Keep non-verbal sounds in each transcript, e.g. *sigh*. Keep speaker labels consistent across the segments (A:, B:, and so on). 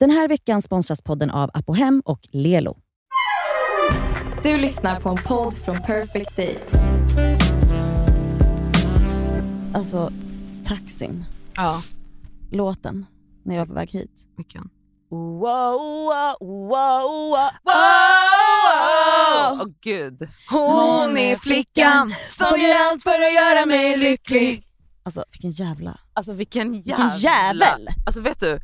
A: Den här veckan sponsras podden av Apohem och Lelo.
B: Du lyssnar på en podd från Perfect Day.
A: Alltså, taxin,
C: Ja,
A: låten, när jag var på väg hit.
C: vilken.
A: Wow, wow, wow, wow.
C: Åh, gud. Hon är flickan som gör allt för att göra mig lycklig.
A: Alltså vilken jävla...
D: Alltså vilken jävla...
A: Vilken jävel!
D: Alltså vet du,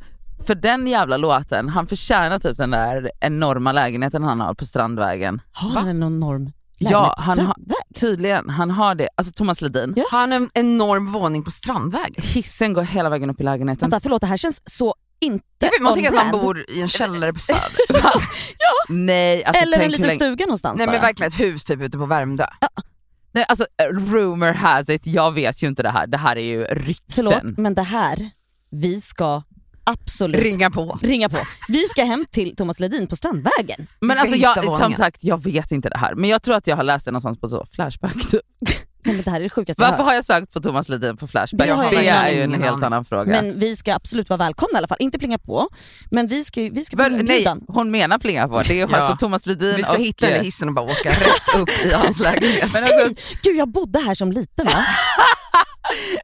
D: för den jävla låten, han förtjänar typ den där enorma lägenheten han har på Strandvägen.
A: Har
C: Va?
A: han en enorm lägenhet
D: Ja,
A: på
D: han har-
A: Strandvägen?
D: Tydligen, han har det. Alltså Thomas Ledin.
A: Ja.
C: Har han en enorm våning på Strandväg?
D: Hissen går hela vägen upp i lägenheten.
A: Vänta, förlåt det här känns så inte
C: Jag vet, man
A: on
C: tänker att han
A: brand.
C: bor i en källare på Söder. *laughs*
D: Nej, alltså
A: Eller en
D: tänk hur
A: liten
D: länge...
A: stuga någonstans
C: Nej men
A: bara.
C: verkligen ett hus typ ute på Värmdö.
D: Nej, alltså rumor has it, jag vet ju inte det här. Det här är ju rykten.
A: Förlåt, men det här, vi ska absolut
C: Ringa på.
A: ringa på. Vi ska hem till Thomas Ledin på Strandvägen.
D: Men
C: ska
D: alltså
C: hitta
D: jag, som
C: våningen.
D: sagt, jag vet inte det här. Men jag tror att jag har läst det någonstans på så, Flashback. typ.
A: Nej, men det här är det sjukaste jag
D: Varför
A: hört.
D: har jag sökt på Thomas Ledin på Flashback?
A: Det har jag
D: Det
A: ingen
D: är
C: aning,
D: ju en
C: ingen
D: helt
C: aning.
D: annan fråga.
A: Men vi ska absolut vara välkomna i alla fall. Inte plinga på, men vi ska, vi ska få en
D: Väl, nej,
A: inbjudan.
D: hon menar plinga på. Det är
C: Ja.
D: alltså Thomas Ledin
C: Vi ska
D: och...
C: hitta den i hissen och bara åka rätt upp i *laughs* hans lägenhet.
D: *laughs* men alltså,
A: Gud jag bodde här som liten va?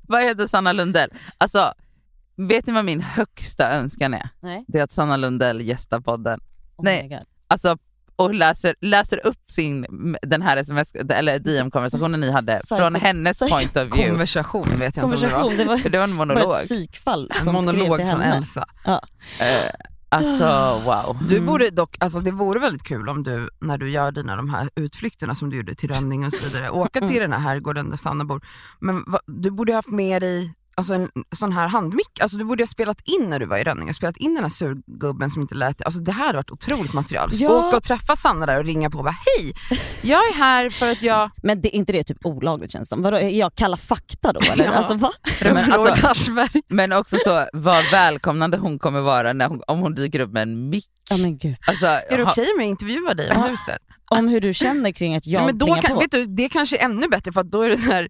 D: vad heter Sanna Lundell? Alltså, vet ni vad min högsta önskan är?
A: Nej.
D: Det är att Sanna Lundell gästar podden.
A: Oh
D: Nej.
A: my God.
D: Alltså, och läser, läser upp sin, den här sms, eller DM-konversationen ni hade
A: Psycho-
D: från hennes
A: psycho-
D: point of view.
C: Konversation vet jag inte om det var.
A: Konversation, det var,
D: För *laughs* det var en
A: det
D: monolog.
A: var ett psykfall
C: En
A: som skrev
C: monolog
A: till
C: från
A: henne.
C: Elsa.
D: Eh, alltså wow.
C: Du
A: Mm.
C: borde dock, alltså det vore väldigt kul om du, när du gör dina de här utflykterna som du gjorde till Rönning och
A: *laughs*
C: så vidare, åka till den här herrgården där Sanna bor. Men va, du borde ha haft med dig alltså en sån här handmick, alltså du borde ha spelat in när du var i Rönning och spelat in den här surgubben som inte lät, alltså det här hade varit otroligt material.
A: Ja.
C: Åka och träffa Sanna där och ringa på och bara hej, jag är här för att jag
A: Men det, är inte det typ olagligt känns det som? Vadå, är jag kalla fakta då eller?
C: Ja.
A: Alltså va?
C: *laughs*
D: Men,
C: Roland
A: *laughs*
D: alltså,
C: Aschberg.
D: men också så vad välkomnande hon kommer vara när hon, om hon dyker upp med en mick.
A: Ja men gud.
D: Alltså,
C: Är det
D: ha-
C: okej om jag intervjuar dig om huset?
A: Om hur du känner kring att jag
C: Ja, men då
A: plingar
C: kan,
A: på.
C: vet du, det kanske är ännu bättre för att då är det så här,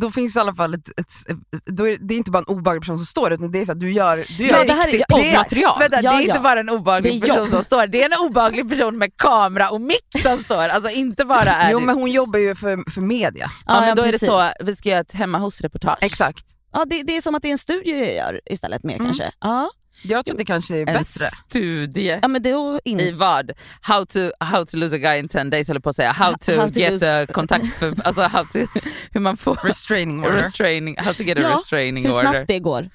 C: då finns det i alla fall ett, ett, ett då är, det är inte bara en obehaglig person som står utan det är så att du gör, du gör
A: Ja, det här är-
C: riktigt
A: ja,
D: Det är,
A: material.
D: Vänta,
A: Ja,
D: det är
A: ja.
D: inte bara en obehaglig
A: Det är jag.
D: person som står, det är en obehaglig person med kamera och mick som står. Alltså inte bara är
C: Jo
D: det...
C: men hon jobbar ju för, för media.
D: ja, men då är det
A: precis.
D: så, vi ska göra ett hemma hos-reportage.
C: Exakt.
A: Ja, det, det är som att det är en studie jag gör istället mer kanske. Ja.
C: Jag tror att det kanske är
D: En
C: bättre.
D: studie.
A: ja men då ins-
D: I vad? How to, how to lose a guy in 10 days höll jag på att säga. How to
A: How to
D: get
A: lose-
D: a kontakt för, alltså how to, hur man får
C: Restraining order.
D: restraining, how to get a
A: Ja,
D: restraining
A: Hur
D: order.
A: snabbt det går.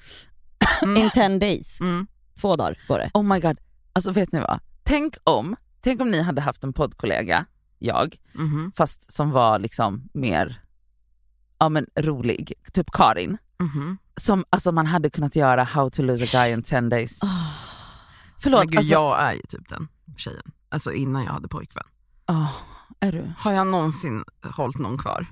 C: Mm.
A: In 10 days.
C: Mm.
A: Två dagar går det.
D: Oh my god, alltså vet ni vad? Tänk om, tänk om ni hade haft en poddkollega, jag,
C: Mhm.
D: fast som var liksom mer ja, men rolig, typ Karin.
C: Mhm.
D: Som alltså, man hade kunnat göra How to lose a guy in 10 days.
A: Ah.
D: Förlåt,
C: Men gud,
D: alltså,
C: jag är ju typ den tjejen. Alltså innan jag hade pojkvän.
D: Åh, ah, är du?
C: Har jag någonsin hållit någon kvar?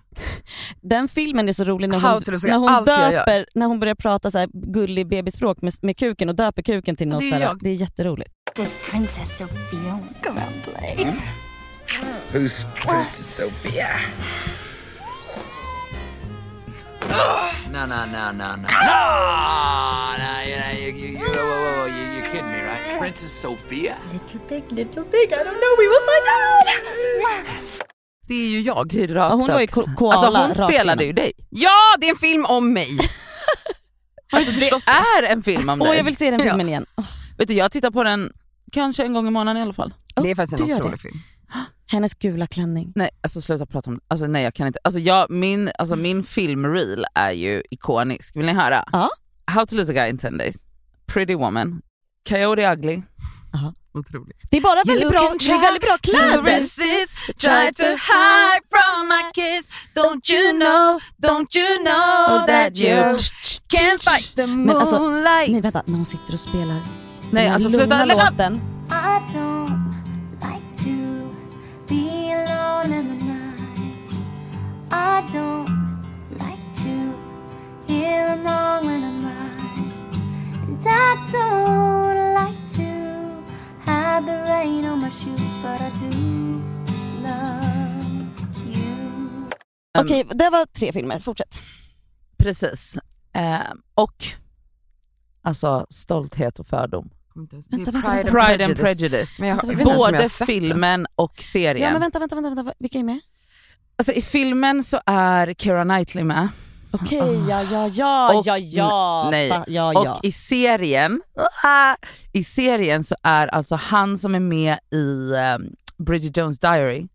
A: Den filmen är så rolig när
C: How
A: hon,
C: to lose a
A: när
C: guy.
A: hon,
C: Allt jag gör.
A: döper, när hon börjar prata så här gullig bebisspråk med, med kuken och döper kuken till något
C: det är
A: så här,
C: jag.
A: det är jätteroligt.
E: Does Princess Sophia want to come and play?
F: Who's Princess Sophia? No, no, no, no, no. No! No, you, know, you, you, you, whoa, whoa, whoa, you, you're kidding me, right? Princess Sophia?
E: Little pig, little pig, I don't know, we will find out!
C: Det är ju jag.
D: Det är rakt
A: Ja, hon
D: upp.
A: var ju ko- koala
D: Alltså hon
A: rakt
D: spelade
A: igenom.
D: ju dig.
C: Ja, det är en film om mig!
D: Alltså, det är en film om
A: Åh
D: dig.
A: jag vill se den
C: Ja.
A: filmen igen. Åh,
D: Vet du, jag tittar på den kanske en gång i månaden i alla fall.
C: Det är faktiskt
A: du
C: en
A: gör det.
C: otrolig film.
A: Hennes gula klänning.
D: Nej, alltså sluta prata om det. Alltså, nej, jag kan inte. Alltså, jag, min, alltså, min filmreel är ju ikonisk. Vill ni höra?
A: Ja.
D: How to lose a guy in 10 days. Pretty woman. Coyote ugly.
C: Otrolig.
A: Det är bara väldigt
C: You
A: bra,
C: can
A: det är väldigt bra
C: To
A: kläder.
C: resist, try to hide from my kiss. Don't you know, don't you know that you can't fight the
A: Men alltså, Nej
C: moonlight.
A: vänta, när hon sitter och spelar
D: Nej
A: den här
D: alltså
A: lugna
D: sluta, lägg av!
A: låten.
C: Um,
E: I don't like to be alone in the night. I don't like to hear a wrong when I'm right. And I don't like to have the rain on my shoes, but I do love you.
A: Okej, det var tre filmer. Fortsätt.
D: Precis. Eh, och alltså stolthet och fördom.
C: kommer inte ens,
A: Vänta,
C: det är
A: vänta,
C: Pride,
A: vänta.
D: Pride
C: and
D: and
C: Prejudice.
D: Prejudice.
C: Men jag, jag vet inte ens om jag har
D: Både
C: sett den.
D: filmen och serien.
A: Ja men vänta, vänta, vänta, vänta. vilka är med?
D: Alltså i filmen så är Keira Knightley med
A: Okej,
C: Ah.
A: ja ja ja,
D: Och-
A: ja ja.
D: nej.
A: Fa- ja,
D: och
A: ja.
D: i serien, ah, i serien så är alltså han som är med i um, Bridget Jones Diary,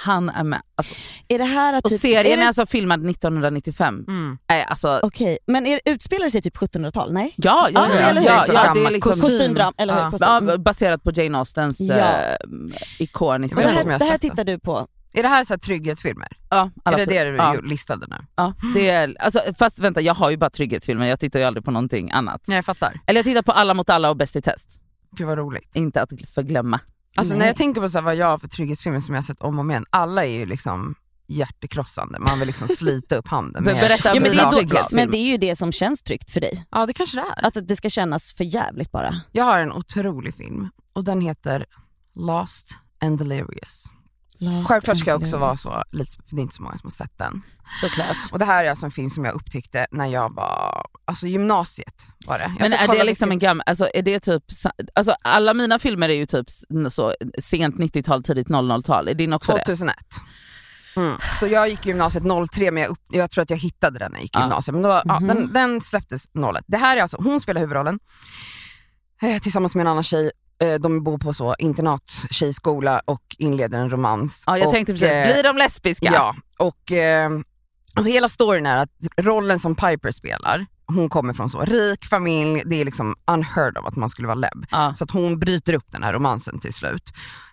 D: han är med. Alltså,
A: är det här att
D: och
A: typ...
D: serien är,
A: är det,
D: alltså filmad 1995.
C: Mm.
D: Nej, alltså,
A: Okej, men är, utspelar det sig typ 1700-tal? Nej?
D: ja, ja,
A: Ja,
D: ja,
A: eller
D: ja,
A: hur?
D: ja,
A: Så
D: det är
C: gammal
D: liksom,
C: kostym.
A: Kostymdram, eller hur?
C: Ja.
A: Kostym.
D: ja, baserat på Jane Austens
A: Ja.
D: eh,
A: det
D: ikoniska...
C: Men
A: här,
C: som jag har
A: det här
C: sett det.
A: tittar du på?
C: Är det här så här trygghetsfilmer?
D: ja, alla
C: är det
D: fil-
C: det du
D: ja.
C: ju- listade nu?
D: Ja, det är, alltså, fast vänta, jag har ju bara trygghetsfilmer, jag tittar ju aldrig på någonting annat.
C: Nej, jag fattar.
D: Eller jag tittar på Alla mot alla och Bäst i test.
C: Gud vad roligt.
D: Inte att förglömma.
C: Alltså när
A: Nej.
C: jag tänker på så här, vad jag har för trygghetsfilmer som jag har sett om och om igen, alla är ju liksom hjärtekrossande. Man vill liksom *laughs* slita upp handen
D: Be- berätta om
A: men,
C: med
A: det
D: dina
C: glasögon.
A: är
D: trygghetsfilmer.
A: då, men det är ju det som känns tryggt för dig.
C: Ja det kanske det är.
A: Att det ska kännas för jävligt bara.
C: Jag har en otrolig film och den heter Lost and Delirious. Självklart ska jag också vara så, lite, för det är inte så många som har sett den.
D: Såklart.
C: Och det här är alltså en film som jag upptäckte när jag var, alltså gymnasiet var det. Jag
D: Men
C: ska
D: är
C: kolla
D: det liksom en
C: vilket-
D: gammal, alltså är det typ, sa- alltså alla mina filmer är ju typ s- så sent 90-tal, tidigt 00-tal. Är din också det?
C: 2001. Mm. Så jag gick gymnasiet 03, men jag, upp, jag tror att jag hittade den när jag gick
D: Ja.
C: gymnasiet. Men då, ja,
D: Mhm.
C: den, den släpptes 01. Det här är alltså, hon spelar huvudrollen eh, tillsammans med en annan tjej. Eh, de bor på så internat, tjejskola och inleder en romans.
D: Ja jag
C: och,
D: tänkte precis,
C: eh,
D: blir de lesbiska?
C: Ja, och eh, alltså hela storyn är att rollen som Piper spelar, hon kommer från så rik familj, det är liksom unheard of att man skulle vara lebb.
D: Ja.
C: Så att hon bryter upp den här romansen till slut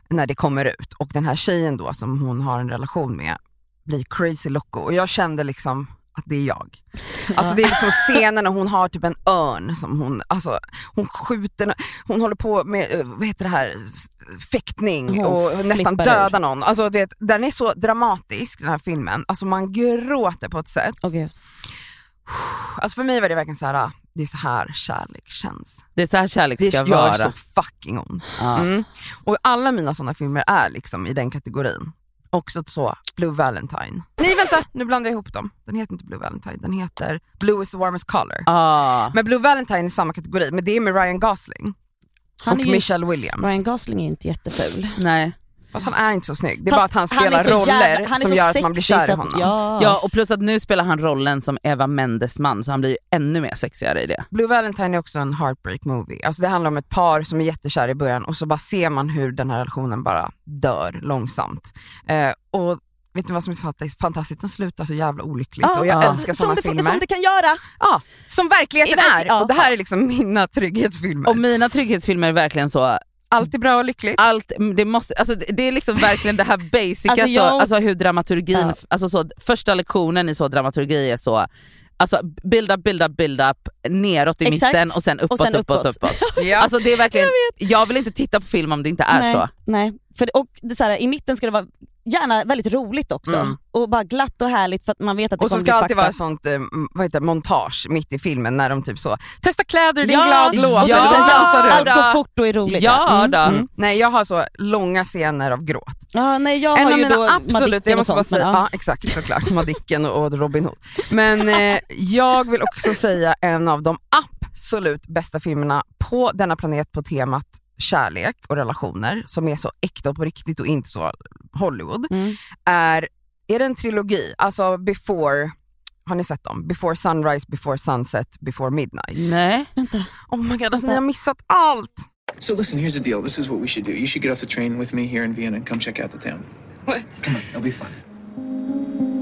C: när det kommer ut. Och den här tjejen då som hon har en relation med blir crazy loco och jag kände liksom att det är jag. Alltså det är liksom scenen när hon har typ en örn som hon, alltså hon skjuter, hon håller på med, eh, vad heter det här, s- fäktning
A: Hon
C: och nästan
A: flippar
C: dödar någon. Alltså du vet, den är så dramatisk den här filmen, alltså man gråter på ett sätt.
A: Okay.
C: Alltså för mig var det verkligen så här, ah, det är så här kärlek känns.
D: Det är så här kärlek
C: Det
D: ska
C: gör
D: vara.
C: så fucking ont.
D: Ja.
C: Mm. Och alla mina sådana filmer är liksom i den kategorin. Också så, Blue Valentine. Nej vänta, nu blandar jag ihop dem. Den heter inte Blue Valentine, den heter Blue is the warmest color.
D: Ah.
C: Men Blue Valentine är samma kategori, men det är med Ryan Gosling
A: Han
C: och
A: är ju,
C: Michelle Williams.
A: Ryan Gosling är ju inte jätteful.
D: Nej.
C: Fast han är inte så snygg, det är
A: Fast
C: bara att han
A: han är
C: spelar
A: så
C: roller
A: jävla- han är
C: som
A: så
C: gör att man blir
A: sexig
C: kär i
A: så att-
C: honom.
A: Ja.
D: Ja och plus att nu spelar han rollen som Eva Mendes man så han blir ju ännu mer sexigare i det.
C: Blue Valentine är också en heartbreak movie. Alltså det handlar om ett par som är jättekär i början och så bara ser man hur den här relationen bara dör långsamt. Eh, och vet ni vad som är så fanta- fantastiskt? Den slutar så jävla olyckligt
A: Ja,
C: och jag
D: ja.
C: älskar
A: Ah, som,
C: sådana
A: det,
C: filmer.
A: som det kan göra.
C: Ja, som verkligheten
A: I verk-
C: är.
A: ja.
C: Och det här är liksom mina trygghetsfilmer.
D: Och mina trygghetsfilmer är verkligen så,
C: Allt är bra och lyckligt.
D: allt, det, måste, alltså, det det är liksom verkligen det här basic, alltså,
A: Alltså,
D: alltså,
A: jag-
D: hur dramaturgin,
A: Ja.
D: alltså, så, första lektionen i så dramaturgi är så, alltså build up, build up, build up, neråt i
A: Exakt.
D: mitten och sen uppåt,
A: sen
D: uppåt, uppåt.
A: uppåt.
C: Ja.
D: Alltså det är verkligen, jag, vill inte titta på film om det inte är
A: nej,
D: så.
A: Nej. För, och det, är så här, I mitten ska det vara gärna väldigt roligt också.
C: Mm.
A: Och bara glatt och härligt för att man vet att det
C: och så
A: kommer
C: ska
A: bli
C: det
A: fakta.
C: alltid vara sånt eh, m- vad heter det, montage mitt i filmen när de typ så, testa kläder, det är en
A: Ja,
C: glad låt.
D: ja,
C: och sen dansar runt.
A: Allt
D: då.
A: går fort och är roligt.
D: Ja då.
C: Mm. Nej jag har så långa scener av gråt.
A: Ja, nej, jag
C: en
A: har
C: av
A: ju då
C: mina absolut,
A: Madicken
C: jag
A: och
C: måste bara
A: sånt, men
C: säga, ja.
A: ja.
C: exakt såklart, Madicken och, och Robin Hood. Men eh, jag vill också säga en av de absolut bästa filmerna på denna planet på temat kärlek och relationer, som är så äkta och på riktigt och inte så Hollywood,
A: Mm.
C: är, är det en trilogi, alltså before, har ni sett dem? Before sunrise, before sunset, before midnight.
D: Nej.
A: Vänta.
C: Oh my god, alltså ni har missat allt!
G: So listen, here's the deal. This is what we should do. You should get off the train with me here in Vienna and come check out the town. What? Come on, it'll be fun.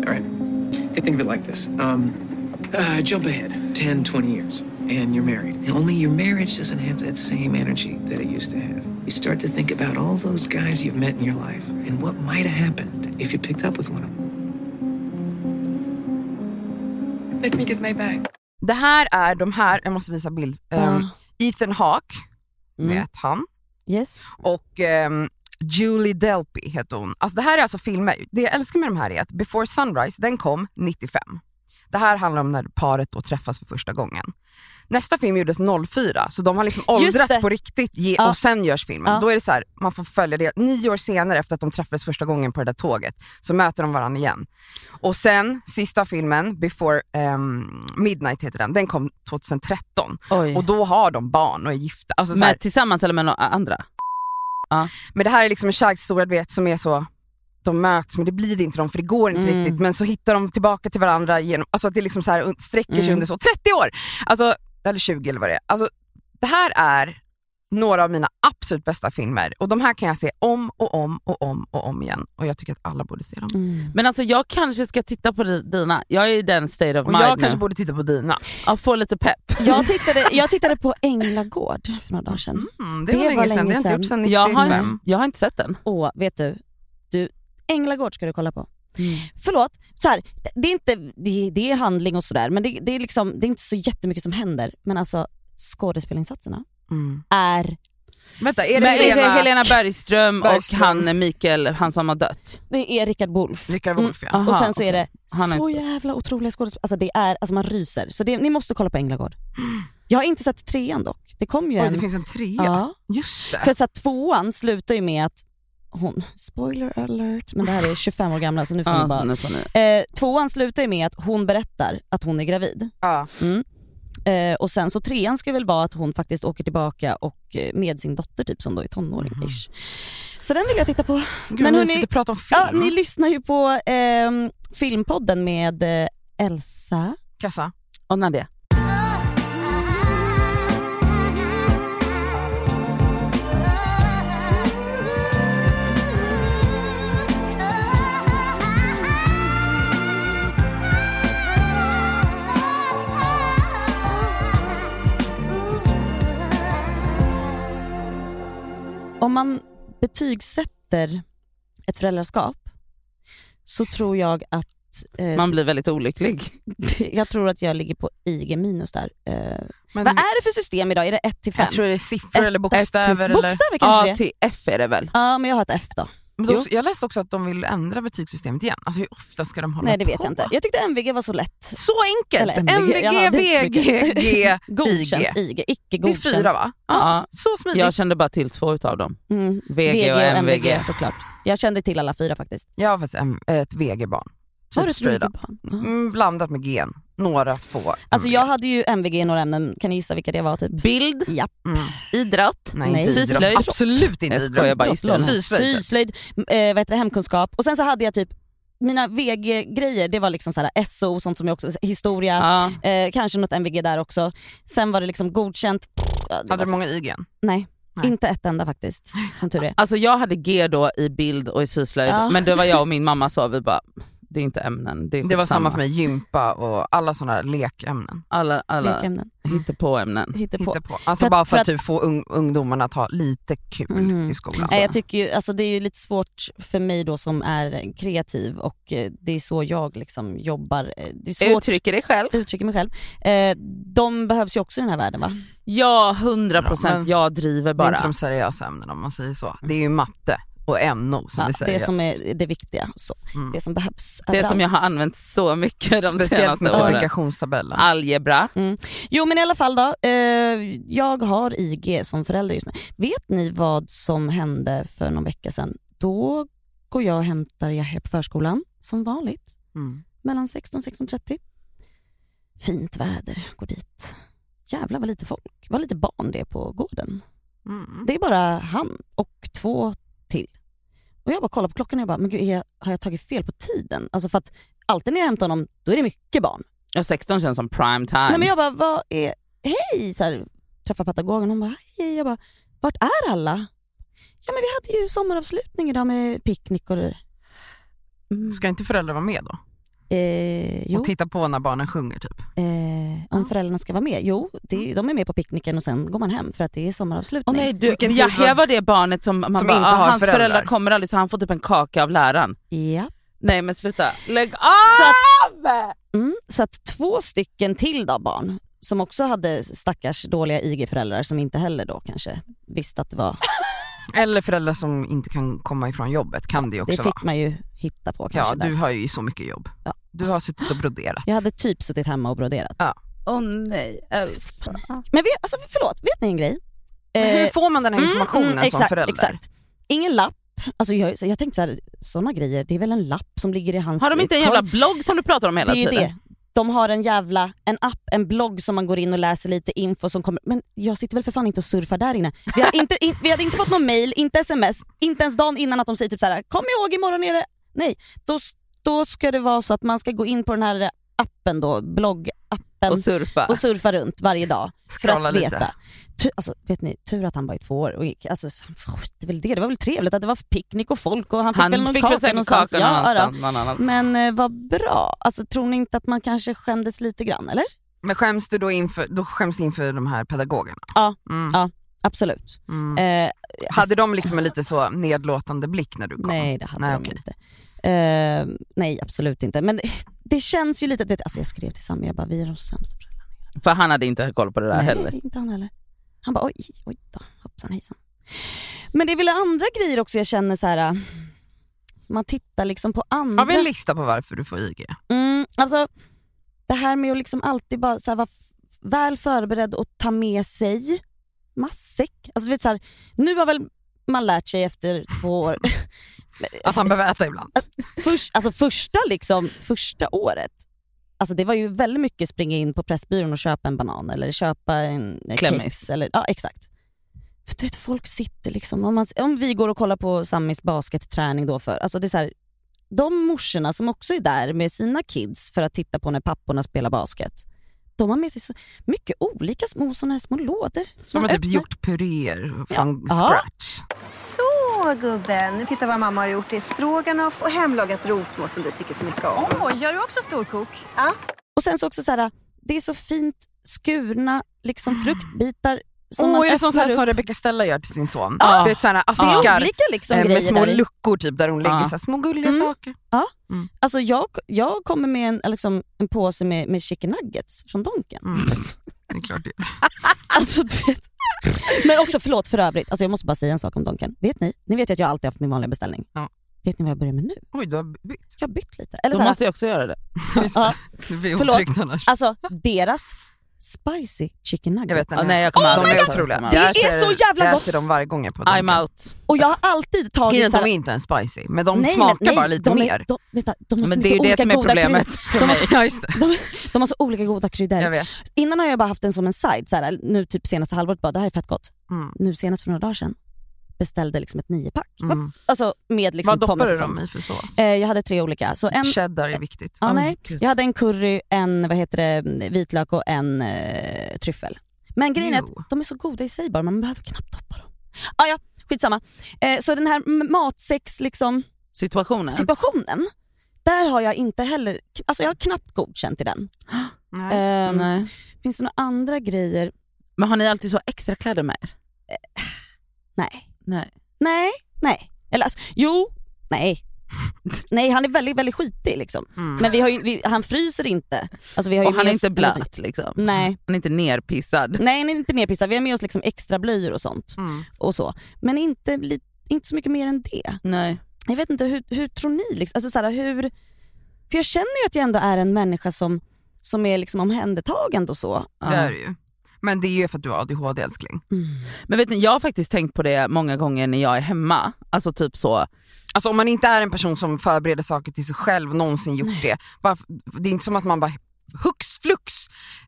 G: All right. Hey, think of it like this. Um, uh, jump ahead 10, 20 years, and you're married. And only your marriage doesn't have that same energy that it used to have. You start to think about all those guys you've met in your life and what might have happened if you picked up with one of them. Let me get my bag.
C: Det här är de här, jag måste visa bild, Ehm,
A: Ja.
C: Ethan Hawke,
D: Mm.
C: vet han.
A: Yes.
C: och ehm, Julie Delpy heter hon. Alltså det här är alltså filmer. Det jag älskar med de här är att Before Sunrise, den kom 95. Det här handlar om när paret då träffas för första gången. Nästa film gjordes 04, så de har liksom
A: Just
C: åldrats
A: det.
C: på riktigt ge,
A: Ja.
C: och sen görs filmen.
A: Ja.
C: Då är det så här, man får följa det. Nio år senare efter att de träffades första gången på det där tåget så möter de varandra igen. Och sen sista filmen, Before ehm, Midnight heter den, den kom 2013.
D: Oj.
C: Och då har de barn och är gifta. Alltså så här,
D: Med, tillsammans eller med några andra?
C: men det här är liksom en kärlekshistoria du vet, som är så, de möts men det blir inte de för det går inte
A: Mm.
C: riktigt. Men så hittar de tillbaka till varandra, genom, alltså att det liksom så här un- sträcker sig
A: Mm.
C: under så 30 år! Alltså, eller 20 eller vad det är. Alltså, det här är några av mina absolut bästa filmer och de här kan jag se om och om och om och om igen. Och jag tycker att alla borde se dem.
A: Mm.
D: Men alltså jag kanske ska titta på di- dina. Jag är i den state of
C: Och
D: mind
C: jag
D: nu.
C: kanske borde titta på dina.
D: Ja, få lite pepp.
A: Jag, tittade, jag tittade på Änglagård för några dagar sedan.
C: Mm, det,
A: Det
C: var länge
A: var
C: sedan, det har jag inte
A: länge
C: gjort sedan
A: sedan.
C: 95.
D: Jag har, jag har inte sett den.
A: Åh, vet du? du Änglagård ska du kolla på.
C: Mm.
A: Förlåt, så här, det, är inte, det, det är handling och sådär men det, det, är liksom, det är inte så jättemycket som händer. Men alltså skådespelinsatserna
C: Mm.
A: är...
C: Vänta, är det
D: Men är det
C: Helena,
D: Helena Bergström,
C: Bergström?
D: och han eh, Mikael, han som har dött?
A: Det är Rickard Wolff. Mm.
C: Rickard Wolff ja.
D: Aha,
A: och sen så är det
D: Han är
A: så
D: inte-
A: jävla otroliga skådespelare. Alltså det är, alltså man ryser. Så det, ni måste kolla på Änglagård. Jag har inte sett trean dock. Det kom ju
C: Mm. Oj,
A: en.
C: det finns en trea.
A: ja.
C: Just det.
A: För att så här, tvåan slutar ju med att hon, spoiler alert, men det här är 25 år gamla så nu får ni
D: Ja,
A: bara...
D: nu får ni.
A: Eh, tvåan slutar ju med att hon berättar att hon är gravid.
C: Ja.
A: Eh, och sen så trean ska väl vara att hon faktiskt åker tillbaka och eh, med sin dotter typ som då är tonåring ish. Så den vill jag titta på.
C: Gud,
A: Men
C: men hörni,
A: hörni-
C: sitter och pratar om film.
A: Ja, ni lyssnar ju på ehm, filmpodden med eh, Elsa.
C: Kassa.
D: Och Nadia.
A: Om man betygsätter ett föräldraskap så tror jag att eh,
D: Man blir väldigt olycklig.
A: *laughs* jag tror att jag ligger på IG minus där. Eh,
C: Men
A: vad är det för system idag? Är det 1 till 5?
C: Jag tror det är siffror
A: Ett-
C: eller bokstäver.
D: till-
C: Eller...
A: Bokstäver kanske
D: A
A: det är.
D: till F är det väl?
A: Ja men jag har ett F då.
C: Men de, jag läste också att de vill ändra betygssystemet igen. Alltså hur ofta ska de hålla
A: Nej det vet
C: på?
A: jag inte. Jag tyckte MVG var så lätt.
C: Så enkelt!
A: Eller MVG,
C: MVG,
A: jaha, det är inte så
C: VG,
A: mycket. *laughs*
C: G,
A: Godkänt,
C: IG.
A: IG, icke
C: Det
A: *laughs*
C: är
A: godkänt.
C: fyra va?
D: Ja.
C: Så smidigt.
D: Jag kände bara till två utav dem.
A: Mm.
D: VG, och MVG.
A: såklart. Jag kände till alla fyra faktiskt.
C: Jag har faktiskt en- ett VG-barn.
A: Har du
C: Typ
A: ett
C: straight up.
A: VG-barn? Ja.
C: Typ Mm, blandat med G. Några få.
A: Alltså
C: MVG.
A: jag hade ju MVG i några ämnen, kan ni gissa vilka det var typ?
D: Bild,
A: Japp.
C: Mm.
D: idrott,
C: Nej,
A: Nej.
C: inte idrott.
D: Syslöjd.
C: Absolut inte
D: Jag skojar bara,
C: idrott.
D: just det.
C: Syslöjd.
A: Syslöjd,
C: typ.
A: eh, vad heter det, hemkunskap. Och sen så hade jag typ, mina VG-grejer det var liksom så här SO, sånt som jag också, historia,
D: Ja.
A: eh, kanske något MVG där också. Sen var det liksom godkänt. Ja, det
C: Hade
A: var-
C: du många IG? n?
A: Nej,
C: Nej.
A: inte ett enda faktiskt, som tur är.
D: Alltså jag hade G då i bild och i syslöjd,
A: Ja.
D: men det var jag och min mamma sa, vi bara, det är inte ämnen, det är
C: Det var
D: skitsamma."
C: samma för mig. Gympa och alla sådana här lekämnen.
D: Alla, alla
A: Lekämnen,
D: inte på ämnen.
A: hitta på.
C: Hitta på. Alltså
A: För att-
C: bara för
A: för
C: att, typ få ung, ungdomarna att ha lite kul
A: Mhm.
C: i skolan.
A: Nej, jag tycker ju, alltså det är ju lite svårt för mig då som är kreativ och eh, det är så jag liksom jobbar. Eh, Det är svårt
D: Uttrycker dig själv.
A: uttrycker mig själv. Eh, de behövs ju också i den här världen va?
D: Ja, 100 procent.
C: Ja, men-
D: jag driver
C: Det är
D: bara.
C: inte de seriösa ämnena om man säger så. Det är ju matte och NO som
A: Mm. Ja,
C: är
A: det
C: seriöst.
A: som är det viktiga. Så.
C: Mm.
A: Det som behövs.
D: Det som
A: överallt.
D: jag har använt så mycket de
C: Speciellt med
D: senaste åren.
C: multiplikationstabellen.
D: Algebra.
A: Jo men i alla fall då. Eh, jag har IG som förälder just nu. Vet ni vad som hände för någon vecka sedan? Då går jag och hämtar Yahya på förskolan som vanligt.
C: Mm.
A: mellan 16 och 16.30. Fint väder, går dit. Jävlar vad lite folk, vad lite barn det är på gården.
C: Mm.
A: Det är bara han och två till. Och jag bara kollar på klockan och jag bara, men gud, är jag, har jag tagit fel på tiden? Alltså för att alltid när jag hämtar honom, då är det mycket barn.
D: Ja, 16 känns som prime time.
A: Nej men jag bara, vad är, hej! Så här, träffar pedagogen, hon bara, hej. Jag bara, vart är alla? Ja men vi hade ju sommaravslutning idag med picknick och det där."
C: Ska inte föräldrar vara med då?
A: eh, Mm. jo.
C: Och titta på när barnen sjunger typ?
A: Eh, om föräldrarna ska vara med? Jo, det, de är med på picknicken och sen går man hem för att det är sommaravslutning.
D: Åh nej, du,
C: Vilken tid
D: Yahya
C: var-
D: var det barnet som, man
C: Som
D: bara,
C: inte
D: "Ah,
C: har
D: hans föräldrar.
C: föräldrar."
D: kommer aldrig så han får typ en kaka av läraren.
A: Ja.
D: Nej men sluta, lägg av!
A: Så, att, mm, så att två stycken till då barn som också hade stackars dåliga IG-föräldrar som inte heller då kanske visste att det var...
C: Eller föräldrar som inte kan komma ifrån jobbet kan det ju också
A: Det
C: vara.
A: fick man ju hitta på kanske.
C: Ja,
A: där.
C: du har ju så mycket jobb.
A: Ja,
C: Du har suttit och broderat.
A: Jag hade typ suttit hemma och broderat.
D: Åh nej, Elsa.
A: Men vi, alltså, förlåt, vet ni en grej?
C: Men
A: Eh,
C: Hur får man den här
A: Mm,
C: informationen
A: mm,
C: som förälder?
A: Exakt. Ingen lapp. Alltså jag, så jag tänkte så här, sådana grejer, det är väl en lapp som ligger i hans
D: Har de inte en jävla blogg som du pratar om hela
A: Det är ju
D: tiden?
A: det. De har en jävla en app, en blogg som man går in och läser lite info som kommer. Men jag sitter väl för fan inte och surfar där inne. Vi, har inte, in, vi hade inte fått någon mail, inte sms, inte ens dagen innan att de säger typ så här: kom ihåg imorgon är det... Nej, då, då ska det vara så att man ska gå in på den här appen då, bloggappen
D: Och surfa.
A: och surfa runt varje dag för
C: Scrolla
A: att
C: lite.
A: veta. Tu, alltså, vet ni, tur att han var i två år. Och gick, alltså, han skiter väl i det. Det var väl trevligt att det var picknick och folk och han fick väl
D: Han
A: någon
D: fick
A: kaka
D: väl säkert
A: någonstans.
D: kakan
A: Ja, ja.
D: någonstans. Någon annan.
A: Men eh, vad bra. Alltså, tror ni inte att man kanske skämdes lite grann eller?
C: Men skäms du då inför, då skäms du inför de här pedagogerna?
A: Ja.
C: Mm,
A: Ja. Absolut.
C: mm.
A: Eh,
C: Hade de liksom en lite så nedlåtande blick när du kom?
A: nej det hade
C: Nej,
A: de
C: okej.
A: inte. Eh, nej absolut inte. Men det- det känns ju lite att, vet, alltså jag skrev till Sami, jag bara vi är de sämsta föräldrarna.
D: För han hade inte koll på det där
A: Nej,
D: heller.
A: inte han heller. Han bara oj, oj då, hoppsan hejsan. Men det är väl andra grejer också jag känner så här. äh, Man tittar liksom på andra.
C: Har vi en lista på varför du får IG?
A: Mm, alltså, det här med att liksom alltid bara så här, vara f- väl förberedd och ta med sig matsäck. Alltså, du vet, så här, nu har väl man lärt sig efter två år,
C: Att han behöver äta ibland?
A: Först, alltså första, liksom, första året, alltså det var ju väldigt mycket springa in på Pressbyrån och köpa en banan eller köpa en eh,
D: Klämmis.
A: kex. Eller, ja, exakt. För du vet, folk sitter liksom, om, man, om vi går och kollar på Samis basketträning då för, alltså det är så här, de morsorna som också är där med sina kids för att titta på när papporna spelar basket, de har med sig så mycket olika små sådana här små lådor.
C: Som har
A: man
C: typ
A: öppnar.
C: gjort puréer från
A: Ja.
C: scratch.
H: Så gubben, titta vad mamma har gjort. Det är stroganoff och hemlagat rotmål som du tycker så mycket om.
I: Åh, gör du också storkok?
A: Och sen så också så här, det är så fint skurna liksom fruktbitar som
C: Ah. Åh,
A: man
C: är det som, så
A: öppnar
C: här,
A: upp.
C: som Rebecca Stella gör till sin son?
D: Ja.
C: Du vet sådana
A: Det är
C: askar
A: olika liksom
C: eh,
A: grejer
C: med små
A: där i.
C: luckor typ, där hon lägger
D: Ja.
C: så här, små gulliga
A: Mm.
C: saker.
A: Alltså jag, jag kommer med en, liksom, en påse med, med chicken nuggets från Donken.
C: Mm. Det är klart det.
A: Alltså, du vet. Men också förlåt för övrigt, alltså, jag måste bara säga en sak om Donken. Vet ni? Ni vet ju att jag alltid haft min vanliga beställning.
C: Ja.
A: Vet ni vad jag börjar med nu?
C: Oj, du har bytt.
A: Jag har bytt lite. Eller
D: Då
A: så här,
D: måste jag också göra det.
A: ja,
C: Det blir
A: Förlåt.
C: otryggt annars.
A: alltså deras spicy chicken nuggets.
C: Jag vet den
D: Ja,
C: här.
D: nej, jag kommer
C: de
D: aldrig
C: är
D: äta dem.
C: otroliga.
D: Det
C: Jag
A: är
C: äter-
A: så jävla
C: Jag
A: gott.
C: äter dem varje gång jag är på
D: I'm
C: Donken.
D: out.
A: Och jag har alltid tagit...
C: Grejen är
A: så
C: att
A: här-
C: de är inte ens spicy, men de
A: Nej, men-
C: smakar
A: nej,
C: bara lite
A: de är,
C: mer.
A: De, vänta, de har så
D: Men det är ju
A: mycket
D: det som
A: olika
D: är
A: goda
D: problemet
A: kryddor.
D: för mig.
C: *laughs* Ja, just det.
A: De, de har så olika goda kryddor.
C: Jag vet.
A: Innan har jag bara haft den som en side, så här, nu typ senaste halvåret bara det här är fett gott.
C: Mm.
A: Nu senast för några dagar sedan beställde liksom ett niopack.
C: Mm.
A: Alltså med liksom
C: Vad doppar
A: pommes
C: du
A: och sånt.
C: dem i för sås?
A: Eh, jag hade tre olika. Så en, eh,
C: Cheddar är viktigt. Ah,
A: ja,
D: Åh,
A: nej, Eh,
D: gud.
A: jag hade en curry, en vad heter det, vitlök och en eh, tryffel. Men grejen är
C: Jo.
A: att de är så goda i sig bara, man behöver knappt doppa dem. Ah, ja, skitsamma. Eh, så den här m- matsex liksom,
D: Situationen.
A: situationen, där har jag inte heller, alltså jag har knappt godkänt i den.
C: Nej.
A: Eh,
D: Nej.
A: Finns det några andra grejer?
D: Men har ni alltid så extra kläder med er?
A: Nej.
D: Nej.
A: Nej, nej. Eller alltså, jo,
D: *laughs*
A: nej. Nej, han är väldigt, väldigt skitig liksom.
C: Mm.
A: Men vi har ju, vi, han fryser inte. Alltså, vi har ju
D: Och han
A: med
D: är
A: oss
D: inte
A: en liten-
D: blöt liksom?
A: Nej.
D: Han är inte nerpissad?
A: Nej, han är inte nerpissad. Vi har med oss liksom extra blöjor och sånt.
C: Mm.
A: Och så. Men inte, li, inte så mycket mer än det.
D: Nej.
A: Jag vet inte, hur, hur tror ni? Liksom? Alltså, så här, hur, för jag känner ju att jag ändå är en människa som, som är liksom omhändertagande och så.
D: Ja.
C: Det är det ju. Men det är ju för att du har ADHD älskling.
D: Men vet ni, jag har faktiskt tänkt på det många gånger när jag är hemma. Alltså typ så,
C: Alltså om man inte är en person som förbereder saker till sig själv, någonsin gjort det. varför- Det är inte som att man bara hux flux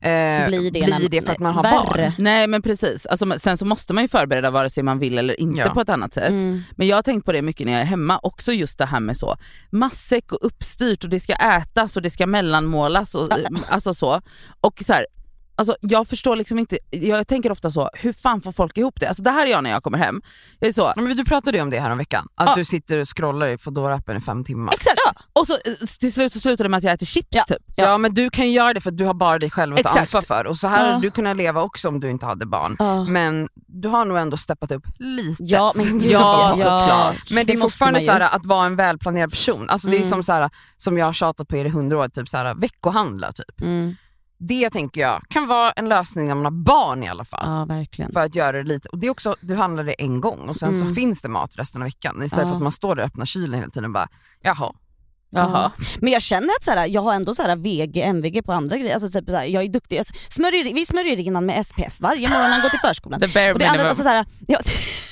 C: eh,
A: Blir det när-
C: blir det för att man har
A: värre.
C: barn.
D: nej men precis. Alltså, men sen så måste man ju förbereda vare sig man vill eller inte
C: Ja.
D: på ett annat sätt.
A: Mm.
D: Men jag har tänkt på det mycket när jag är hemma, också just det här med så matsäck och uppstyrt och det ska ätas och det ska
A: *laughs*
D: mellanmålas och alltså så. Och så här, alltså jag förstår liksom inte, jag tänker ofta så, hur fan får folk ihop det? Alltså det här är jag när jag kommer hem. Jag är så,
C: Ja, Men du pratade ju om det här om veckan, att
D: Ja.
C: du sitter och scrollar i Foodora-appen i fem timmar.
A: Exakt. Ja.
D: och så eh, till slut så slutar det med att jag äter chips
A: Ja.
D: typ.
C: Ja. men du kan ju göra det för att du har bara dig själv att ta
D: Exakt.
C: ansvar för. Och så här hade
A: Ja.
C: du kunnat leva också om du inte hade barn.
A: Ja.
C: Men du har nog ändå steppat upp lite.
A: Ja,
C: *laughs*
A: men
C: Ja,
D: såklart.
C: Men det, är
A: måste
C: fortfarande
A: man ju.
C: så här, att vara en välplanerad person. Alltså, Det är
A: Mm.
C: som, så här, som jag har tjatat på er i hundra år, typ, så här, veckohandla. Typ.
A: Mm.
C: Det tänker jag kan vara en lösning när man har barn i alla fall.
A: Ja, verkligen.
C: För att göra det lite. Och det är också, du handlar det en gång och sen så
A: Mm.
C: finns det mat resten av veckan. Istället
A: Ja.
C: för att man står där och öppnar kylen hela tiden och bara, jaha,
D: Jaha.
A: Men jag känner att så här, jag har ändå så här VG, MVG på andra grejer. Alltså, typ, så här, jag är duktig. Jag smörjer, vi smörjer innan med SPF varje morgon när han går till förskolan.
D: The bare
A: Och det andra,
D: minimum.
A: alltså, så här, ja, *laughs*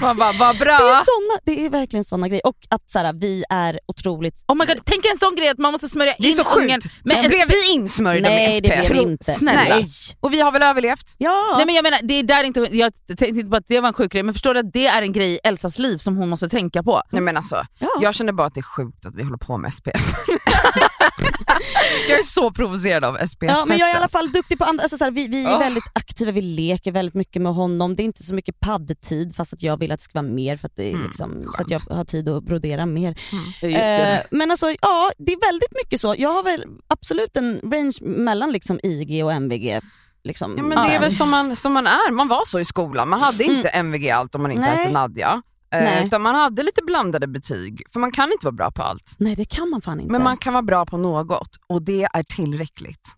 D: Man bara, vad
A: det, är
D: bra.
A: såna, det är verkligen sådana grejer. Och att så här, vi är otroligt...
D: Oh my God. Tänk en sån grej att man måste smörja in
J: Det är så
D: ungen
J: sjukt.
D: med
J: Men
D: en-
J: blev vi insmörjda
A: Nej
J: med
A: det
J: SPF?
A: blir vi
D: Tro-
A: inte.
D: snälla.
A: Nej.
J: Och vi har väl överlevt?
A: Ja.
D: Nej men jag menar, det är där inte, jag tänkte inte på att det var en sjuk grej, men förstår du att det är en grej i Elsas liv som hon måste tänka på.
J: Nej men alltså,
A: Ja.
J: jag känner bara att det är sjukt att vi håller på med SPF. jag är så provocerad av SPF.
A: Ja, men jag är i
J: -fetsen.
A: alla fall duktig på andra, alltså, så här, vi, vi är
J: Ah.
A: väldigt aktiva, vi leker väldigt mycket med honom. Det är inte så mycket paddtid fast att jag vill att det ska vara mer för att, det är
J: Mm,
A: liksom, så att
J: skönt.
A: jag har tid att brodera mer.
D: Just det.
A: Eh, men alltså ja, det är väldigt mycket så. Jag har väl absolut en range mellan liksom IG och MVG. Liksom.
J: Ja, men det är
A: Ja. Mm.
J: väl som man, som man är, man var så i skolan. Man hade inte MVG allt om man inte
A: Nej.
J: hette Nadja. Eh,
A: Nej.
J: Utan man hade lite blandade betyg, för man kan inte vara bra på allt.
A: Nej det kan man fan inte.
J: Men man kan vara bra på något och det är tillräckligt.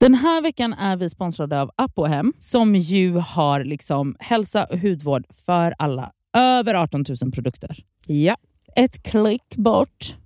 D: Den här veckan är vi sponsrade av Apohem som ju har liksom hälsa och hudvård för alla. Över 18 000 produkter.
J: Ja.
D: Ett klick bort.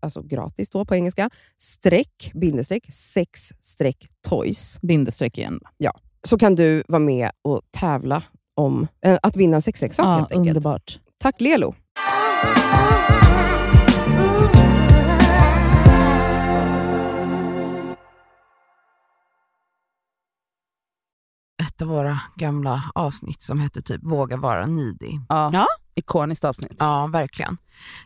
I: alltså gratis då på engelska, streck, bindestreck, sex streck toys.
D: Bindestreck igen.
I: Så kan du vara med och tävla om eh, att vinna en sexleksak helt enkelt.
D: underbart.
I: Tack Lelo!
C: Ett av våra gamla avsnitt som hette typ Våga vara nidig.
D: Ja.
A: Ja.
D: Ikoniskt avsnitt.
C: Ja, verkligen.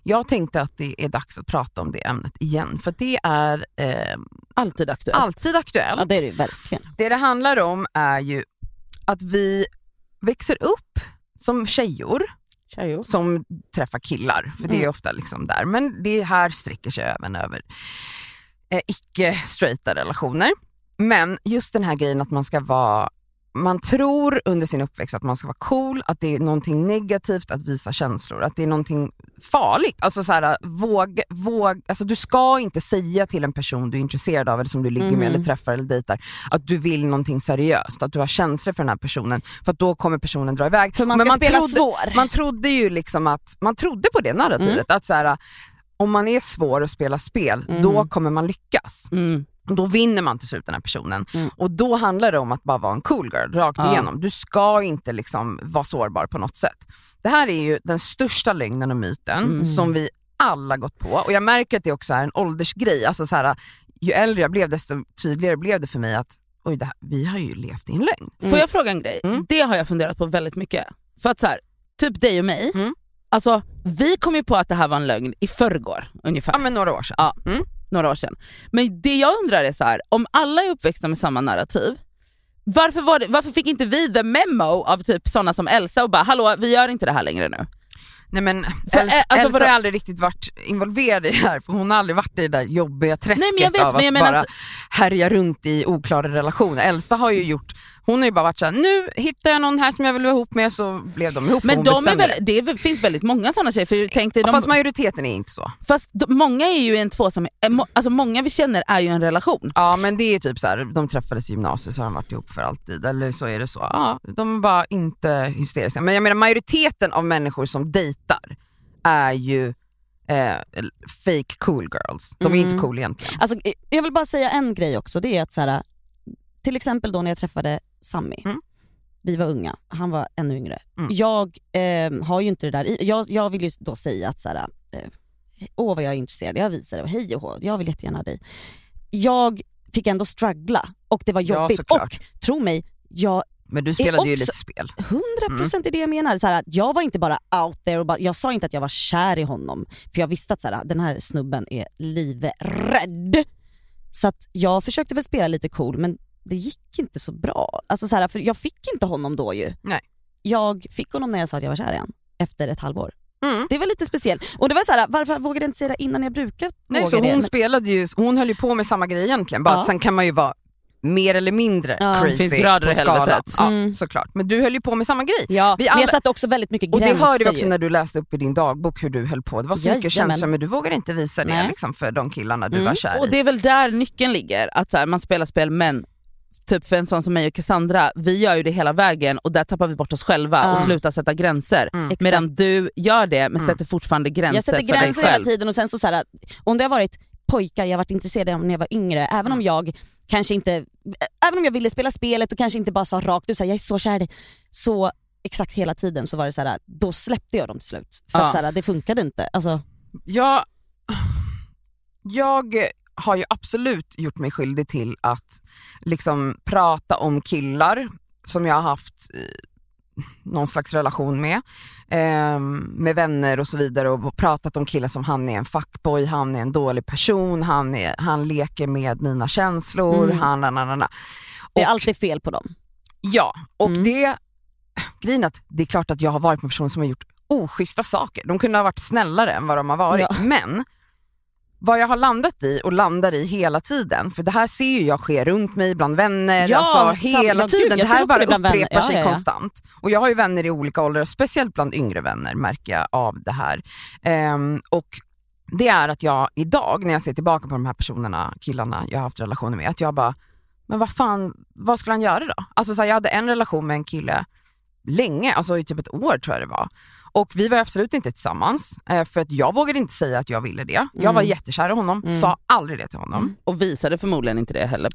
C: Jag tänkte att det är dags att prata om det ämnet igen, för det är eh,
D: Alltid aktuellt.
C: alltid aktuellt.
A: Ja, det är det ju verkligen.
C: Det det handlar om är ju att vi växer upp som tjejor
D: Tjejo.
C: som träffar killar, för det är
A: Mm.
C: ofta liksom där. Men det här sträcker sig även över eh, icke-straighta relationer. Men just den här grejen att man ska vara man tror under sin uppväxt att man ska vara cool, att det är någonting negativt att visa känslor, att det är någonting farligt. Alltså så här, våg, våg, alltså du ska inte säga till en person du är intresserad av eller som du ligger
D: Mhm.
C: med
A: Mm.
C: eller träffar eller dejtar att du vill någonting seriöst, att du har känslor för den här personen för att då kommer personen dra iväg.
A: För man ska
C: Men man
A: spela
C: trodde-
A: svår.
C: Man trodde ju liksom att, man trodde på det narrativet,
D: Mm.
C: att så här, om man är svår att spela spel,
A: Mm.
C: då kommer man lyckas.
D: Mm.
C: Och Då vinner man till slut den här personen.
A: Mm.
C: Och då handlar det om att bara vara en cool girl rakt
D: Ja.
C: igenom. Du ska inte liksom vara sårbar på något sätt. Det här är ju den största lögnen och myten
D: Mm.
C: som vi alla gått på. Och jag märker att det också är en åldersgrej. Alltså så här, ju äldre jag blev desto tydligare blev det för mig att oj, det här, vi har ju levt i en lögn.
D: Får jag fråga en grej?
C: Mm.
D: Det har jag funderat på väldigt mycket. För att så här, typ dig och mig,
C: Mm.
D: alltså, vi kom ju på att det här var en lögn i förrgår ungefär.
C: Ja men några år sedan.
D: Ja.
C: Mm.
D: några år sedan. Men det jag undrar är så här, om alla är uppväxta med samma narrativ, varför, var det, varför fick inte vi the memo av typ sådana som Elsa och bara hallå vi gör inte det här längre nu?
C: Nej men
D: För,
C: Elsa,
D: eh, alltså,
C: Elsa
D: vadå?
C: har aldrig riktigt varit involverad i det här för hon har aldrig varit i det där jobbiga träsket
D: Nej, men jag vet,
C: av att
D: men jag menar alltså-
C: bara
D: så-
C: härja runt i oklara relationer. Elsa har ju gjort, hon har ju bara varit såhär, nu hittar jag någon här som jag vill vara ihop med så blev de ihop och
D: Men
C: hon
D: de är
C: bestämde
D: väl, det är, väl- finns väldigt många sådana tjejer, för tänk dig,
C: det.
D: de,
C: Fast
D: fast,
C: majoriteten är inte så.
D: de, många är ju en tvåsam, eh, må- alltså många vi känner är ju en relation.
C: Ja men det är typ så här, de träffades i gymnasiet så har de varit ihop för alltid eller så är det så. Ja, de är bara inte hysteriska. Men jag menar majoriteten av människor som dejtar är ju eh, fake cool girls. De är inte
A: Mm.
C: cool egentligen.
A: Alltså, eh, jag vill bara säga en grej också. Det är att så här, till exempel då när jag träffade Sammy.
C: Mm.
A: Vi var unga, han var ännu yngre.
C: Mm.
A: Jag eh, har ju inte det där i- jag, jag vill ju då säga att så här, eh, åh vad jag är intresserad, jag visar det, och hej och hå, jag vill jättegärna ha dig. Jag fick ändå struggla och det var
C: Ja,
A: jobbigt.
C: såklart.
A: och tro mig, jag
C: Men du spelade ju
A: också-
C: lite spel.
A: 100%
C: Mm.
A: är det jag menar. Så här, att jag var inte bara out there, och bara, jag sa inte att jag var kär i honom. För jag visste att så här, den här snubben är livrädd. Så att jag försökte väl spela lite cool men det gick inte så bra. Alltså så här, för jag fick inte honom då ju.
C: Nej.
A: Jag fick honom när jag sa att jag var kär i honom. Efter ett halvår.
C: Mm.
A: Det var lite speciellt. Och det var så här, varför vågade jag inte säga det innan jag brukar
C: Nej,
A: våga
C: så
A: det?
C: hon
A: Men-
C: spelade ju, hon höll ju på med samma grej egentligen, bara
A: Ja.
C: att sen kan man ju vara mer eller mindre
A: Ja.
C: crazy
D: Finns grader i
C: på skalan.
D: helvetet.
C: Ja,
A: Mm.
C: såklart. Men du höll ju på med samma grej.
A: Ja,
C: Vi
A: men
C: alla-
A: jag satte också väldigt mycket
C: Och
A: gränser
C: det hörde vi också
A: ju.
C: när du läste upp i din dagbok hur du höll på. Det var så mycket
A: Jajamän.
C: känslor men du vågade inte visa det
A: Nej.
C: liksom, för de killarna du
A: Mm.
C: var kär
D: Och
C: i.
D: det är väl där nyckeln ligger, att så här, man spelar spel men typ för en sån som mig och Cassandra, vi gör ju det hela vägen och där tappar vi bort oss själva
A: Ja. Mm.
D: och slutar sätta gränser.
A: Exakt.
D: Medan du gör det men
C: Mm.
D: sätter fortfarande gränser,
A: Jag sätter
D: för dig
A: gränser hela
D: själv.
A: tiden och sen så, så här, om det har varit pojkar jag varit intresserad av när jag var yngre, även
C: Mm.
A: om jag kanske inte, även om jag ville spela spelet och kanske inte bara sa rakt ut så här, jag är så kär i dig, så exakt hela tiden så var det så här, då släppte jag dem till slut. För
D: Ja.
A: att så här, det funkade inte. Alltså,
C: Jag, jag har ju absolut gjort mig skyldig till att liksom prata om killar som jag har haft eh, någon slags relation med, ehm, med vänner och så vidare och pratat om killar som han är en fuckboy, han är en dålig person, han, är, han leker med mina känslor,
A: Mm.
C: han... Na, na, na, na.
A: det är
C: Och-
A: alltid fel på dem.
C: Ja, och
A: Mm.
C: det, grejen är att det är klart att jag har varit med personer som har gjort oschyssta saker. De kunde ha varit snällare än vad de har varit.
A: Ja.
C: Men vad jag har landat i och landar i hela tiden, för det här ser ju jag ske runt mig, bland vänner,
A: Ja,
C: alltså
A: sam- ja,
C: hela
A: gud, jag
C: tiden. det
A: ser
C: här
A: också
C: bara
A: det bland
C: upprepar
A: vänner. Ja,
C: sig
A: ja, ja.
C: konstant. Och jag har ju vänner i olika åldrar, speciellt bland yngre vänner märker jag av det här. Ehm, och det är att jag idag när jag ser tillbaka på de här personerna, killarna jag har haft relationer med, att jag bara, men vad fan, vad skulle han göra då? Alltså så här, jag hade en relation med en kille länge, alltså i typ ett år tror jag det var. Och vi var absolut inte tillsammans, eh, för att jag vågade inte säga att jag ville det. Jag var
D: Mm.
C: jättekär i honom,
D: Mm.
C: sa aldrig det till honom.
D: Och visade förmodligen inte det heller.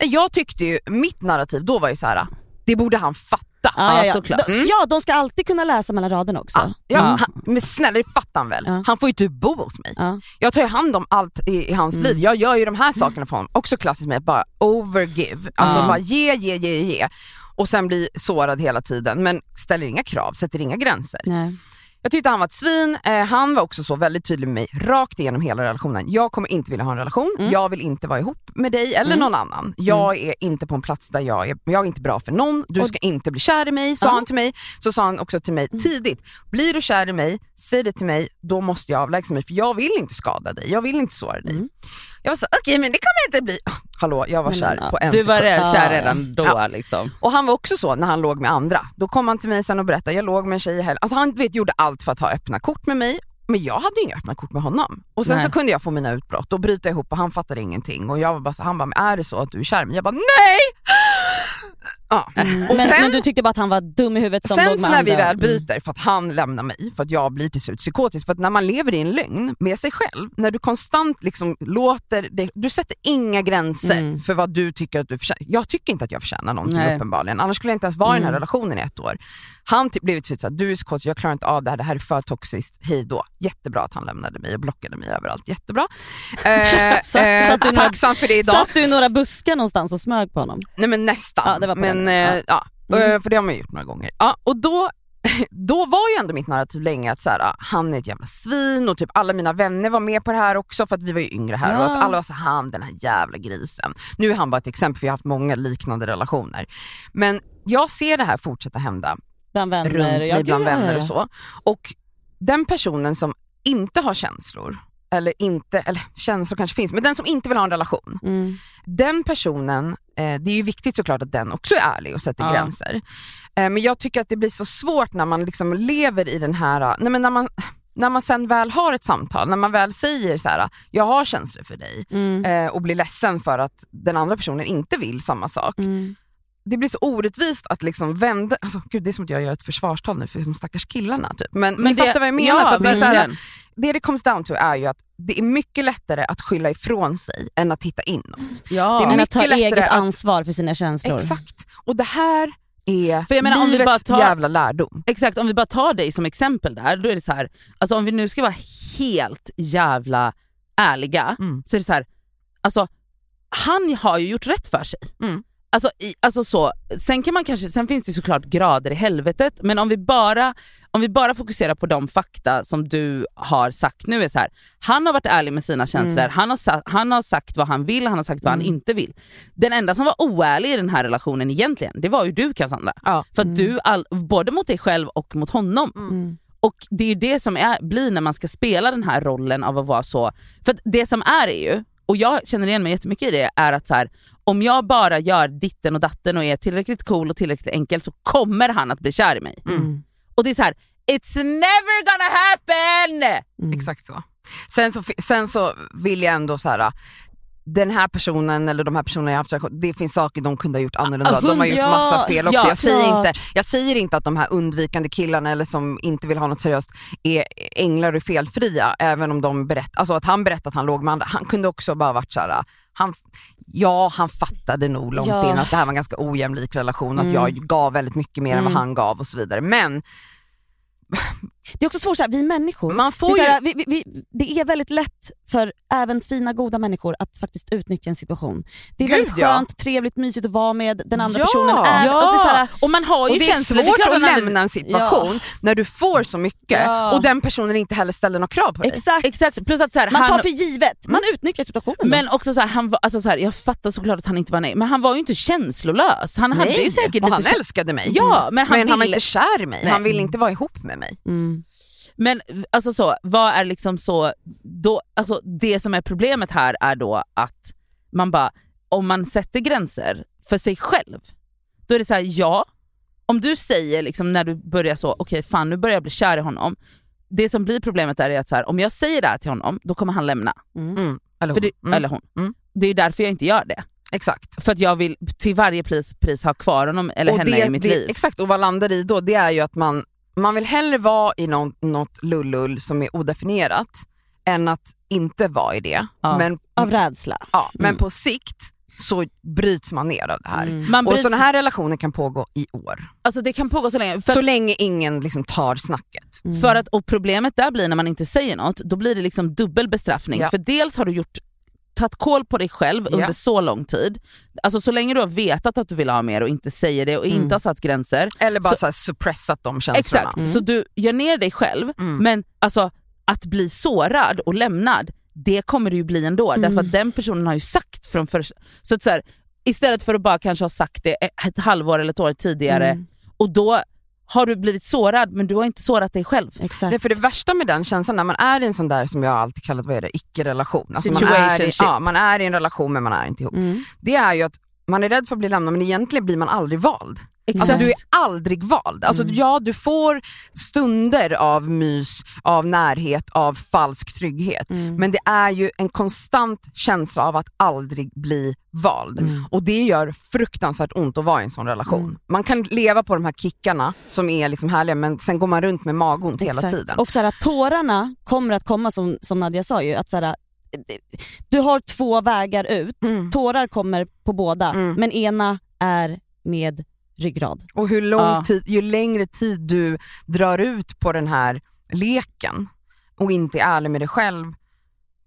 C: Nej, Jag tyckte ju, mitt narrativ då var ju så här, "Ah, det borde han fatta.
D: Ja, såklart.
A: De,
C: Mm.
A: Ja, de ska alltid kunna läsa mellan raderna också.
C: Ja, ja,
D: Ja.
C: Han, men snälla det fattar han väl?
A: Ja.
C: Han får ju typ bo hos mig.
A: Ja.
C: Jag tar ju hand om allt i, i hans
D: Mm.
C: liv. Jag gör ju de här sakerna för honom. Också klassiskt med att bara overgive. Alltså
D: Ja.
C: bara ge, ge, ge, ge. Och sen bli sårad hela tiden men ställer inga krav, sätter inga gränser.
A: Nej.
C: Jag tyckte han var ett svin. Eh, han var också så väldigt tydlig med mig rakt igenom hela relationen. Jag kommer inte vilja ha en relation. Jag vill inte vara ihop med dig eller någon annan. Jag är inte på en plats där jag är, jag är inte bra för någon. Du ska inte bli kär i mig, sa han till mig. Så sa han också till mig tidigt, blir du kär i mig, säg det till mig, då måste jag avlägsna mig för jag vill inte skada dig. Jag vill inte såra dig. Jag var så okej men det kommer jag inte bli. Ah, Hallå, jag var
A: Men,
C: kär
A: ja.
C: på en
D: Du var
C: sekund.
D: redan
A: Ja,
D: kär
A: ja.
D: redan då
C: Ja.
D: liksom.
C: Och han var också så när han låg med andra. Då kom han till mig sen och berättade, jag låg med en tjej i helgen. Alltså han vet, gjorde allt för att ha öppna kort med mig, men jag hade ju inga öppna kort med honom. Och sen
D: Nej.
C: så kunde jag få mina utbrott och bryta ihop och han fattade ingenting. Och jag var bara så, han bara, men är det så att du är kär i mig? Jag bara, nej! *gasps* Ja. Och
A: Äh, Men,
C: sen,
A: men du tyckte bara att han var dum i huvudet som
C: sen
A: låg
C: så
A: med
C: när
A: andra.
C: vi väl
A: Mm.
C: byter, för att han lämnar mig, för att jag blir till slut psykotisk. För att när man lever i en lögn med sig själv, när du konstant liksom låter det, du sätter inga gränser
A: Mm.
C: för vad du tycker att du förtjänar. Jag tycker inte att jag förtjänar någonting
D: Nej.
C: uppenbarligen, annars skulle jag inte ens vara i den här
A: Mm.
C: relationen i ett år. Han typ blev till slut såhär, du är psykotisk, jag klarar inte av det här, det här är för toxiskt, hej då. Jättebra att han lämnade mig och blockade mig överallt, jättebra.
A: *laughs*
C: Eh,
A: Så- så
C: eh,
A: att du-
C: tacksam för det idag.
A: Satt du i några buskar någonstans och smög på honom?
C: Nej men nästan.
A: Ja, det var på
C: men,
A: den.
C: eh, ja.
A: Mm.
C: eh, För det har man ju gjort några gånger. Ja, och då, *laughs* då var ju ändå mitt narrativ länge att så här, ah, han är ett jävla svin och typ alla mina vänner var med på det här också för att vi var ju yngre här och
A: Ja.
C: att alla var så här, han den här jävla grisen. Nu är han bara ett exempel för jag har haft många liknande relationer. Men jag ser det här fortsätta hända
A: Bland vänner?
C: runt
A: Ja,
C: mig bland
A: gud, ja,
C: vänner
A: ja.
C: och så. Och den personen som inte har känslor, eller inte, eller känslor kanske finns, men den som inte vill ha en relation
A: Mm.
C: den personen, eh, det är ju viktigt såklart att den också är ärlig och sätter
D: Ja.
C: gränser. Eh, men jag tycker att det blir så svårt när man liksom lever i den här, eh, nej men när man när man sen väl har ett samtal, när man väl säger så här, eh, jag har känslor för dig
A: Mm.
C: eh, och blir ledsen för att den andra personen inte vill samma sak.
A: Mm.
C: Det blir så orättvist att liksom vända, alltså, gud det är som att jag gör ett försvarstal nu för de stackars killarna. Typ. Men, ni
D: det-
C: fattar vad jag menar.
D: Ja,
C: för att det, är så här,
D: verkligen.
C: det det comes down to är ju att det är mycket lättare att skylla ifrån sig än att titta inåt.
D: ja.
C: det är
A: Men att
C: mycket
A: ta
C: lättare
A: eget
C: att-
A: ansvar för sina känslor.
C: Exakt. Och det här är
D: För jag menar, om vi
C: livets
D: bara tar-
C: jävla lärdom.
D: Exakt, om vi bara tar dig som exempel där, då är det så här, alltså om vi nu ska vara helt jävla ärliga,
C: Mm.
D: så är det så här, alltså han har ju gjort rätt för sig.
C: Mm.
D: Alltså, i, alltså så, sen, kan man kanske, sen finns det ju såklart grader i helvetet, men om vi, bara, om vi bara fokuserar på de fakta som du har sagt nu, är så här, han har varit ärlig med sina känslor, han, har sa, han har sagt vad han vill, han har sagt vad han inte vill. Den enda som var oärlig i den här relationen egentligen, det var ju du Cassandra.
C: Ja.
D: För att du, all, både mot dig själv och mot honom. Och det är ju det som är, blir när man ska spela den här rollen av att vara så, för att det som är är ju, och jag känner igen mig jättemycket i det, är att så här, om jag bara gör ditten och datten och är tillräckligt cool och tillräckligt enkel så kommer han att bli kär i mig.
C: Mm.
D: Och det är så här: it's never gonna happen!
A: Mm.
C: Exakt så. Sen så, fi- sen så vill jag ändå så här. äh, Den här personen eller de här personerna jag haft relation- det finns saker de kunde ha gjort annorlunda. De har gjort
A: Ah, Ja,
C: massa fel också.
A: ja,
C: jag, säger
A: klart.
C: inte, jag säger inte att de här undvikande killarna eller som inte vill ha något seriöst är änglar och felfria. Även om de berätt, alltså att han berättade att han låg med andra. Han kunde också bara varit såhär, han, ja han fattade nog långt
A: Ja.
C: in att det här var en ganska ojämlik relation, att
A: Mm.
C: jag gav väldigt mycket mer än
A: Mm.
C: vad han gav och så vidare. Men
A: Det är också svårt, så här, vi människor,
C: man
A: det är,
C: får
A: så
C: ju
A: här, vi, vi, vi, det är väldigt lätt för även fina goda människor att faktiskt utnyttja en situation. Det är
C: Gud,
A: väldigt
C: ja.
A: skönt, trevligt, mysigt att vara med den andra
C: Ja.
A: personen. Är,
D: Ja,
A: alltså, så här,
D: och man har ju
C: Och det är
D: känslor.
C: svårt
D: klart
C: att
D: man hade-
C: lämna en situation när du får så mycket
D: Ja.
C: och den personen inte heller ställer några krav på dig.
A: exakt.
D: Exakt, plus att så här,
A: Man
D: han,
A: tar för givet, man utnyttjar situationen.
D: Men också så här, han var, alltså så här, jag fattar såklart att han inte var nej, men han var ju inte känslolös. Han hade ju säkert
C: och
D: lite
C: han
D: kä-
C: älskade mig. Mm.
D: Ja, men han
C: men han var
D: ville-
C: inte kär i mig,
D: Nej.
C: han ville inte vara ihop med mig.
A: då. Mm.
D: Men alltså så, vad är liksom så, då, alltså det som är problemet här är då att man bara, om man sätter gränser för sig själv, då är det så här, ja, om du säger liksom när du börjar så, okej fan nu börjar jag bli kär i honom, det som blir problemet där är att så här, om jag säger det här till honom, då kommer han lämna.
C: Mm. Eller,
D: För
C: hon.
D: det,
C: mm.
D: Eller hon.
C: Mm.
D: Det är därför jag inte gör det.
C: Exakt.
D: För att jag vill till varje pris, pris ha kvar honom eller
C: Och
D: henne
C: det,
D: i mitt
C: det,
D: liv.
C: Exakt, och vad landar i då? Det är ju att man, man vill hellre vara i någon, något lullull som är odefinierat än att inte vara i det.
D: Ja.
C: Men,
A: Av rädsla.
C: ja, men
D: Mm.
C: på sikt så bryts man ner av det här.
A: Mm.
D: Man
C: Och
D: bryts,
C: sådana här relationer kan pågå i år.
D: alltså det kan pågå så länge. För,
C: Så länge ingen liksom tar snacket.
A: Mm.
D: för att, och problemet där blir när man inte säger något, då blir det liksom dubbel bestraffning.
C: Ja.
D: För dels har du gjort tagit koll på dig själv
C: Ja.
D: under så lång tid. Alltså så länge du har vetat att du vill ha mer och inte säger det och inte
A: Mm.
D: har satt gränser.
C: Eller bara så,
D: Så-
C: här suppressat de känslorna.
D: Exakt,
A: Mm.
D: så du gör ner dig själv.
C: Mm.
D: Men alltså att bli sårad och lämnad, det kommer du ju bli ändå. Därför att den personen har ju sagt från första... Så att så här, istället för att bara kanske ha sagt det e-, ett halvår eller ett år tidigare
A: Mm.
D: och då har du blivit sårad men du har inte sårat dig själv.
A: Exakt.
C: Nej, för det värsta med den känslan när man är i en sån där som jag alltid kallat, vad är det, icke-relation. Alltså man, är i,
D: Situationship.
C: ja, man är i en relation men man är inte ihop.
A: Mm.
C: Det är ju att man är rädd för att bli lämnad men egentligen blir man aldrig vald. Alltså du är aldrig vald. Alltså
A: Mm.
C: ja, du får stunder av mys, av närhet, av falsk trygghet.
A: Mm.
C: Men det är ju en konstant känsla av att aldrig bli vald.
A: Mm.
C: Och det gör fruktansvärt ont att vara i en sån relation. Man kan leva på de här kickarna som är liksom härliga men sen går man runt med magont hela
A: Exakt.
C: tiden.
A: Och så här, tårarna kommer att komma som, som Nadja sa ju. Att så här, du har två vägar ut,
C: Mm.
A: tårar kommer på båda
C: Mm.
A: men ena är med ryggrad.
C: Och hur lång
D: Ja.
C: tid, ju längre tid du drar ut på den här leken och inte är ärlig med dig själv,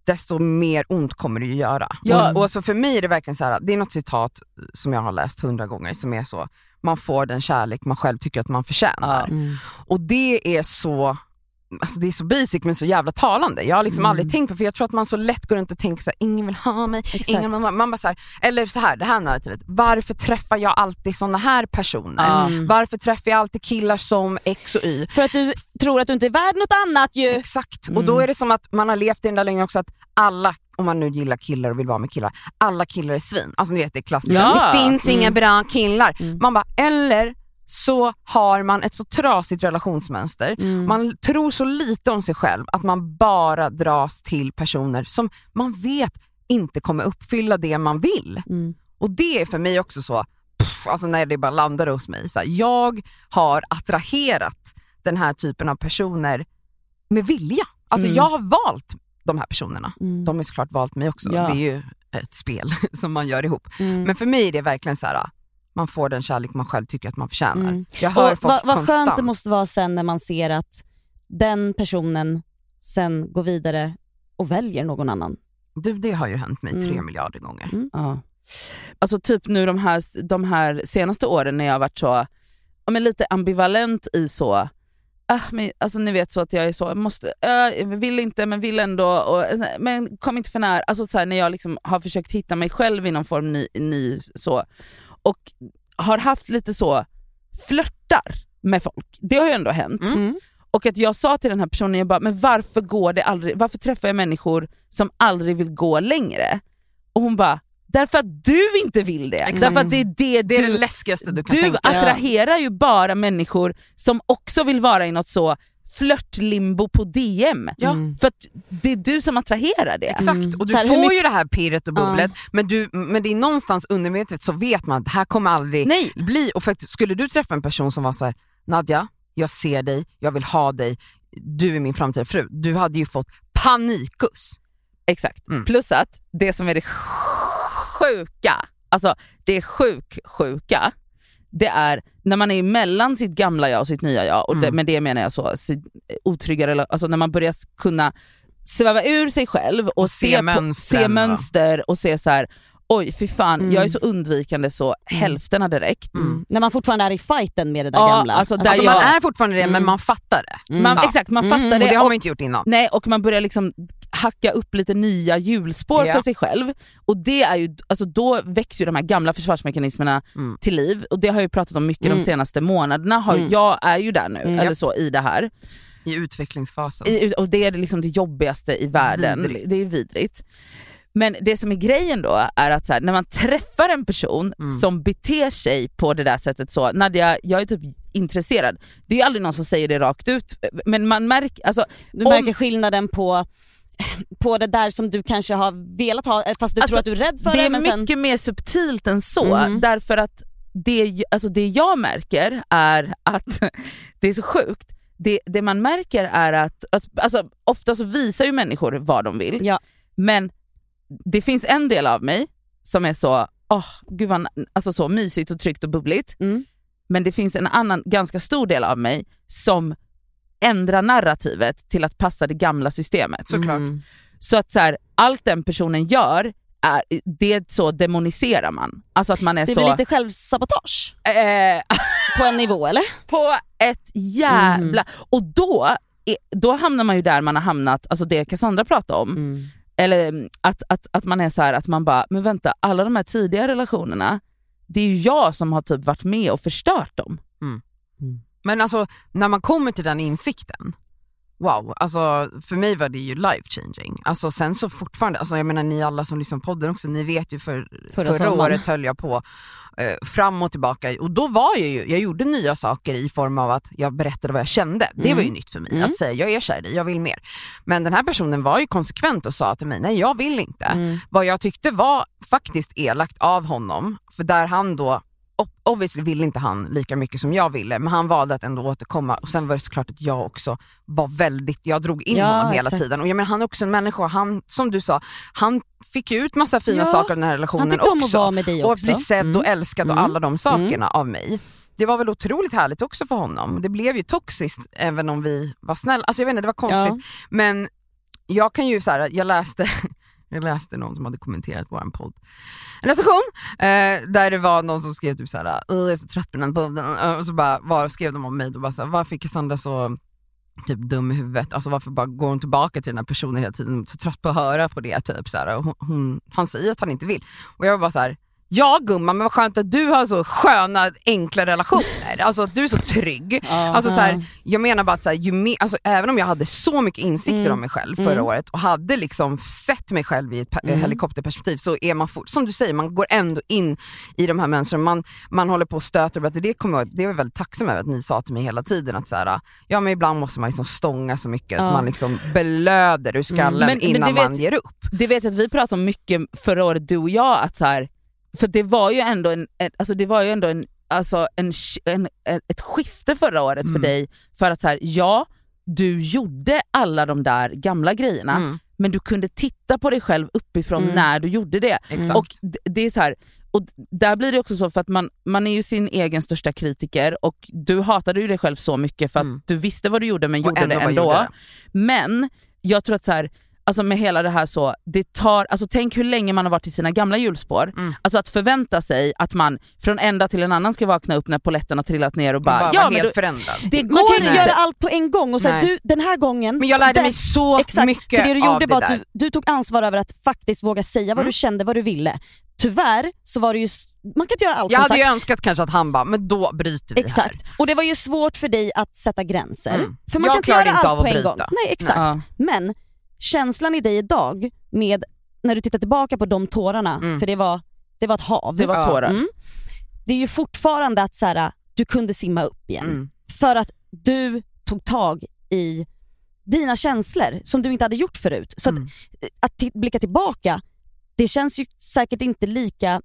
C: desto mer ont kommer det ju göra.
D: Ja.
C: Och, och så för mig är det verkligen så här, det är något citat som jag har läst hundra gånger som är så, man får den kärlek man själv tycker att man förtjänar. Och det är så Alltså det är så basic men så jävla talande. Jag har liksom aldrig tänkt på för jag tror att man så lätt går runt och tänker såhär, ingen vill ha mig, ingen vill ha mig. Man bara så här, eller så här, det här narrativet. Varför träffar jag alltid såna här personer?
D: Ja.
C: Varför träffar jag alltid killar som X och Y?
A: För att du tror att du inte är värd något annat ju.
C: Exakt, och då är det som att man har levt i den där länge också att alla, om man nu gillar killar och vill vara med killar, alla killar är svin. Alltså ni vet det är klassiskt.
D: Ja. Mm.
C: Det finns inga bra killar. Man bara, eller så har man ett så trasigt relationsmönster.
D: Mm.
C: Man tror så lite om sig själv att man bara dras till personer som man vet inte kommer uppfylla det man vill.
A: Mm.
C: Och det är för mig också så, pff, alltså när det bara landar hos mig. Så här, jag har attraherat den här typen av personer med vilja. Alltså
D: Mm.
C: jag har valt de här personerna.
A: Mm.
C: De har såklart valt mig också.
D: Ja.
C: Det är ju ett spel *laughs* som man gör ihop.
A: Mm.
C: Men för mig är det verkligen så här, ah, man får den kärlek man själv tycker att man förtjänar.
A: Mm.
C: Jag hör
A: Och
C: folk
A: vad, vad
C: konstant.
A: skönt det måste vara sen när man ser att den personen sen går vidare och väljer någon annan.
C: Du, det har ju hänt mig tre
A: Mm.
C: miljarder gånger.
A: Mm.
D: Ja. Alltså typ nu de här, de här senaste åren när jag har varit så, ja, men lite ambivalent i så, ah, men, alltså ni vet så att jag är så, jag måste, äh, vill inte men vill ändå, och, men kom inte för nära. Alltså så här, när jag liksom har försökt hitta mig själv i någon form ny, ny så, och har haft lite så flörtar med folk. Det har ju ändå hänt.
A: Mm.
D: Och att jag sa till den här personen, jag bara, men varför går det aldrig, varför träffar jag människor som aldrig vill gå längre? Och hon bara, därför att du inte vill det.
C: Exakt.
D: Därför att det är det,
C: Det är det
D: du...
C: läskigaste du kan
D: Du
C: tänka dig.
D: attraherar ju bara människor som också vill vara i något så flörtlimbo på DM.
C: Ja.
D: För att det är du som attraherar det.
C: Exakt, och du
A: Mm. Så här, hur
C: får
A: mycket-
C: ju det här pirret och bubblet men, du, men det är någonstans undermedvetet så vet man att det här kommer aldrig
D: Nej.
C: bli. Och för att, skulle du träffa en person som var så här: Nadja, jag ser dig, jag vill ha dig, du är min framtida fru. Du hade ju fått panikus.
D: Exakt.
C: Mm.
D: Plus att det som är det sjuka, alltså det är sjuk sjuka, det är när man är mellan sitt gamla jag och sitt nya jag, och det,
C: Mm.
D: med det menar jag så, sitt otrygga rela- alltså när man börjar kunna sväva ur sig själv och,
C: se
D: se, på,
C: mönstren,
D: se
C: va?
D: mönster och se så här. oj fy fan,
A: Mm.
D: jag är så undvikande så hälfterna direkt.
C: Mm.
A: När man fortfarande är i fighten med det där
D: Ja,
A: gamla.
D: alltså där
C: Alltså
D: jag-
C: man är fortfarande det men man fattar det.
A: Mm.
D: Man,
C: Ja.
D: Exakt, man
A: Mm.
D: fattar
C: Och det
D: det.
C: har
D: Och,
C: man inte gjort innan.
D: nej, och man börjar liksom hacka upp lite nya hjulspår
C: Ja.
D: för sig själv. Och det är ju, alltså då väcks ju de här gamla försvarsmekanismerna
C: Mm.
D: till liv och det har jag ju pratat om mycket
A: Mm.
D: de senaste månaderna. Har,
A: Mm.
D: Jag är ju där nu,
A: Mm.
D: eller så i det här.
C: I utvecklingsfasen.
D: I, och det är liksom det jobbigaste i världen.
C: Vidrigt.
D: Det är vidrigt. Men det som är grejen då är att så här, när man träffar en person
C: Mm.
D: som beter sig på det där sättet så,
A: Mm.
D: Nadja jag är typ intresserad. Det är ju aldrig någon som säger det rakt ut men man märker, alltså,
A: Du
D: Om-
A: märker skillnaden på, *laughs* på det där som du kanske har velat ha eh, fast du
D: Alltså,
A: tror att du är rädd för
D: det
A: det.
D: är
A: Men sen,
D: mycket mer subtilt än så
A: Mhm.
D: därför att det, ju- alltså det jag märker är att, *laughs* det är så sjukt, det, det man märker är att, att alltså, ofta så visar ju människor vad de vill
A: Ja.
D: men det finns en del av mig som är så, åh gud vad alltså så mysigt och tryggt och bubbligt
A: Mm.
D: men det finns en annan ganska stor del av mig som ändrar narrativet till att passa det gamla systemet.
C: Såklart.
A: Mm.
D: Så att så här, allt den personen gör, är, det så demoniserar man. Alltså att man är
A: Det
D: så...
A: blir lite självsabotage
D: eh,
A: på en nivå eller?
D: på ett jävla... Och då, är, då hamnar man ju där man har hamnat, alltså det Cassandra pratade om. Eller mm, att, att, att man är så här att man bara, men vänta, alla de här tidiga relationerna, det är ju jag som har typ varit med och förstört dem.
C: Men alltså när man kommer till den insikten, wow, alltså för mig var det ju life changing. Alltså sen så fortfarande, alltså jag menar ni alla som lyssnar på podden också, ni vet ju för,
A: Förra
C: förra,
A: sommaren.
C: året höll jag på eh, fram och tillbaka och då var jag ju, jag gjorde nya saker i form av att jag berättade vad jag kände. Det var ju nytt för mig,
A: Mm.
C: att säga jag är kär i dig, jag vill mer. Men den här personen var ju konsekvent och sa till mig, nej jag vill inte.
A: Mm.
C: Vad jag tyckte var faktiskt elakt av honom, för där han då ob- Obviously ville inte han lika mycket som jag ville, men han valde att ändå återkomma. Och sen var det såklart att jag också var väldigt, jag drog in
A: Ja,
C: honom hela
A: exakt.
C: tiden. Och jag menar, han är också en människa, han, som du sa, han fick ju ut massa fina
A: Ja,
C: saker av den här
A: Han
C: relationen
A: tyckte om att
C: också.
A: vara med dig
C: och
A: också.
C: att bli sedd
A: Mm.
C: och älskad och
A: Mm.
C: alla de sakerna av mig. Det var väl otroligt härligt också för honom. Det blev ju toxiskt även om vi var snälla. Alltså jag vet inte, det var konstigt.
A: Ja.
C: Men jag kan ju så här, jag läste, *laughs* jag läste någon som hade kommenterat vår podd, en recension, eh, där det var någon som skrev typ så här, "Åh, jag är så trött på den här podden, Eh, och så bara, var, skrev de om mig, då bara så här, varför är Cassandra så typ dum i huvudet, alltså varför bara går hon tillbaka till den här personen hela tiden, så trött på att höra på det typ så här, och hon, hon, han säger att han inte vill. Och jag var bara så här, ja gumman men vad skönt att du har så sköna enkla relationer, alltså att du är så trygg. Alltså så här, jag menar bara att så här, ju mer, alltså, även om jag hade så mycket insikter
D: Mm.
C: om mig själv förra året och hade liksom sett mig själv i ett
D: Mm.
C: pe- helikopterperspektiv så är man fort, som du säger, man går ändå in i de här mönstren. Man, man håller på och stöter. och blöter. Det, kommer jag, ihåg- det är jag väldigt tacksam över att ni sa till mig hela tiden att så här, ja, men ibland måste man liksom stånga så mycket
A: Ja.
C: att man liksom belöder ur skallen
D: Mm. Men- men
C: innan
D: det vet-
C: man ger upp.
D: det vet jag att vi pratade om mycket förra året du och jag, att så här, för det var ju ändå en, en, alltså det var ju ändå en, alltså en, sk- en, en, ett skifte förra året för
C: Mm.
D: dig. För att så här, ja, du gjorde alla de där gamla grejerna,
C: Mm,
D: men du kunde titta på dig själv uppifrån
A: Mm.
D: när du gjorde det.
C: exakt.
D: Och d- det är så här, och d- där blir det också så för att man, man är ju sin egen största kritiker och du hatade ju dig själv så mycket för att
C: Mm.
D: du visste vad du gjorde men
C: Och
D: gjorde det
C: bara
D: ändå.
C: gjorde det.
D: Men jag tror att så här, alltså med hela det här så, det tar, alltså tänk hur länge man har varit i sina gamla hjulspår.
C: Mm.
D: Alltså att förvänta sig att man från en dag till en annan ska vakna upp när poletten har trillat ner och
C: Man
D: bara,
C: bara,
D: ja
C: var
D: men
C: helt
D: du,
C: förändrad.
D: det
A: Man
D: går
A: kan ju
D: inte.
A: inte göra allt på en gång och säga
C: Nej.
A: du den här gången.
C: Men jag lärde
A: där-
C: mig
A: *laughs*
C: så
A: Exakt,
C: mycket
A: för det du
C: av
A: gjorde
C: det
A: var
C: där.
A: att du, du tog ansvar över att faktiskt våga säga vad
C: Mm.
A: du kände, vad du ville. Tyvärr så var det ju, s- man kan inte göra allt
C: Jag
A: som
C: hade
A: sagt.
C: ju önskat kanske att han bara, men då bryter vi här.
A: Exakt, och det var ju svårt för dig att sätta gränser.
C: Mm.
A: För man
C: Jag
A: kan inte
C: klarar
A: göra
C: inte
A: allt
C: av att
A: på en
C: bryta.
A: gång. Nej exakt,
D: Ja.
A: men känslan i dig idag med, när du tittar tillbaka på de tårarna,
C: Mm.
A: för det var, det var ett hav.
D: Det var
C: Ja.
D: tårar.
A: Mm. Det är ju fortfarande att så här, du kunde simma upp igen.
C: Mm.
A: För att du tog tag i dina känslor som du inte hade gjort förut. Så
C: Mm.
A: att, eh, att ti- blicka tillbaka, det känns ju säkert inte lika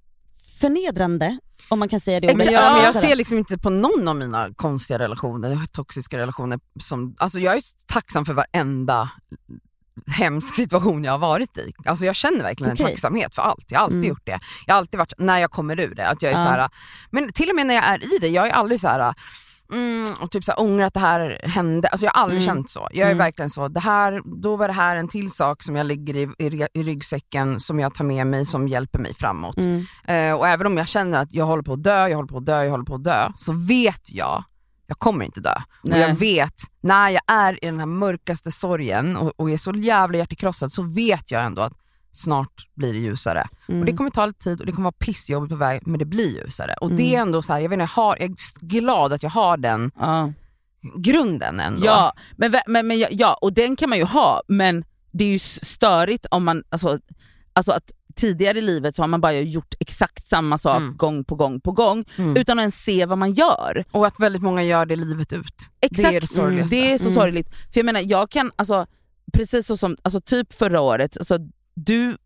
A: förnedrande om man kan säga det. om
C: Men
A: det.
C: jag,
D: Ja,
C: men jag ser liksom inte på någon av mina konstiga relationer, toxiska relationer. Som, alltså jag är tacksam för varenda hemsk situation jag har varit i. Alltså jag känner verkligen en
A: Okej.
C: tacksamhet för allt. Jag har alltid
A: Mm.
C: gjort det. Jag har alltid varit, när jag kommer ur det, att jag är
A: Ja.
C: så här, men till och med när jag är i det, jag är aldrig så här Mm, och typ så här, ångrar att det här hände. Alltså jag har aldrig
A: Mm.
C: känt så. Jag är
A: Mm.
C: verkligen så, det här, då var det här en till sak som jag lägger i, i, re- i ryggsäcken som jag tar med mig som hjälper mig framåt.
A: Mm.
C: Eh, och även om jag känner att jag håller på att dö, jag håller på att dö, jag håller på att dö, så vet jag, jag kommer inte dö.
D: Nej.
C: Och jag vet, när jag är i den här mörkaste sorgen och, och är så jävla hjärtekrossad, så vet jag ändå att snart blir det ljusare.
A: Mm.
C: Och det kommer ta lite tid och det kommer vara pissjobbigt på väg, men det blir ljusare. Och
A: Mm.
C: det är ändå så här, jag, vet inte, jag, har, jag är glad att jag har den
D: Ja.
C: grunden ändå.
D: Ja, men, vä- men, men, ja, ja, och den kan man ju ha, men det är ju s- störigt om man, alltså, alltså att tidigare i livet så har man bara gjort exakt samma sak
C: Mm.
D: gång på gång på gång
C: Mm.
D: utan att ens se vad man gör.
C: Och att väldigt många gör det livet ut.
D: Exakt,
C: Det är det sorgligaste.
D: Det är så
C: Mm.
D: sorgligt. För jag menar, jag kan, alltså, precis så som, alltså, typ förra året, alltså, du,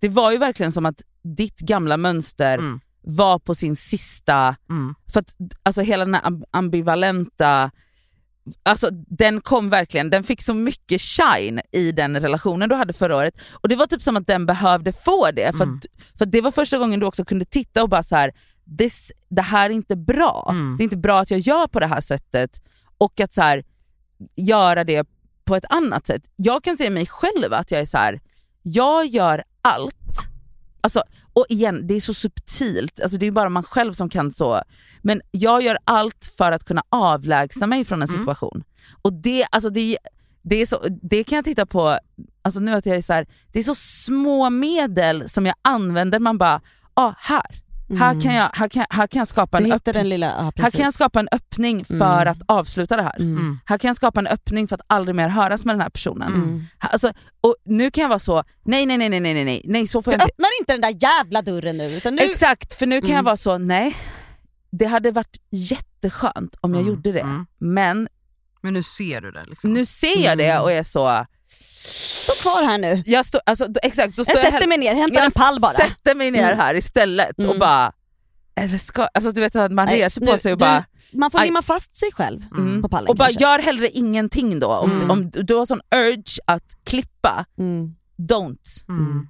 D: det var ju verkligen som att ditt gamla mönster
C: Mm.
D: var på sin sista,
C: Mm.
D: för att alltså, hela den här amb- ambivalenta, alltså, den kom verkligen, den fick så mycket shine i den relationen du hade förra året. Och det var typ som att den behövde få det, för,
C: Mm.
D: att, för att det var första gången du också kunde titta och bara så här, this, det här är inte bra.
C: Mm.
D: Det är inte bra att jag gör på det här sättet och att så här, göra det på ett annat sätt. Jag kan se mig själv att jag är så här. jag gör allt. Alltså, och igen, det är så subtilt, alltså, det är bara man själv som kan så. Men jag gör allt för att kunna avlägsna mig från en
C: Mm.
D: situation. Och det, alltså, det, det, är så, det kan jag titta på, alltså, nu att jag är så här, det är så små medel som jag använder, man bara, ah, här. Här, kan jag, här, kan, här kan jag skapa
A: Mm. Du
D: en
A: hittar
D: öppning.
A: den lilla, ja,
D: Här
A: precis.
D: kan jag skapa en öppning för
A: Mm.
D: att avsluta det här.
A: Mm.
C: Mm.
D: Här kan jag skapa en öppning för att aldrig mer höras med den här personen.
A: Mm.
D: Här- Alltså, och nu kan jag vara så, nej nej nej nej nej nej, nej så får
A: Du
D: jag inte.
A: öppnar inte den där jävla dörren nu utan nu...
D: Exakt, för nu kan jag
A: Mm.
D: vara så, nej det hade varit jätteskönt om jag
C: Mm.
D: gjorde det.
C: Mm.
D: Men
C: Men nu ser du det liksom.
D: nu ser jag
A: Mm.
D: det och är så,
A: Stå kvar här nu.
D: jag står, alltså, d- exakt, då står
A: Jag
D: jag,
A: sätter mig ner, hämtar en pall bara.
D: Jag sätter mig ner
A: Mm.
D: här istället och
A: Mm.
D: bara, eller ska, alltså du vet att man
A: Nej,
D: reser på
A: nu-
D: sig och
A: du-
D: bara,
A: Man får
D: Aj.
A: limma fast sig själv
C: Mm.
A: på pallen
D: och bara
A: kanske.
D: gör hellre ingenting då. Om,
A: Mm.
D: om du har sån urge att klippa,
A: Mm.
D: don't.
C: Mm.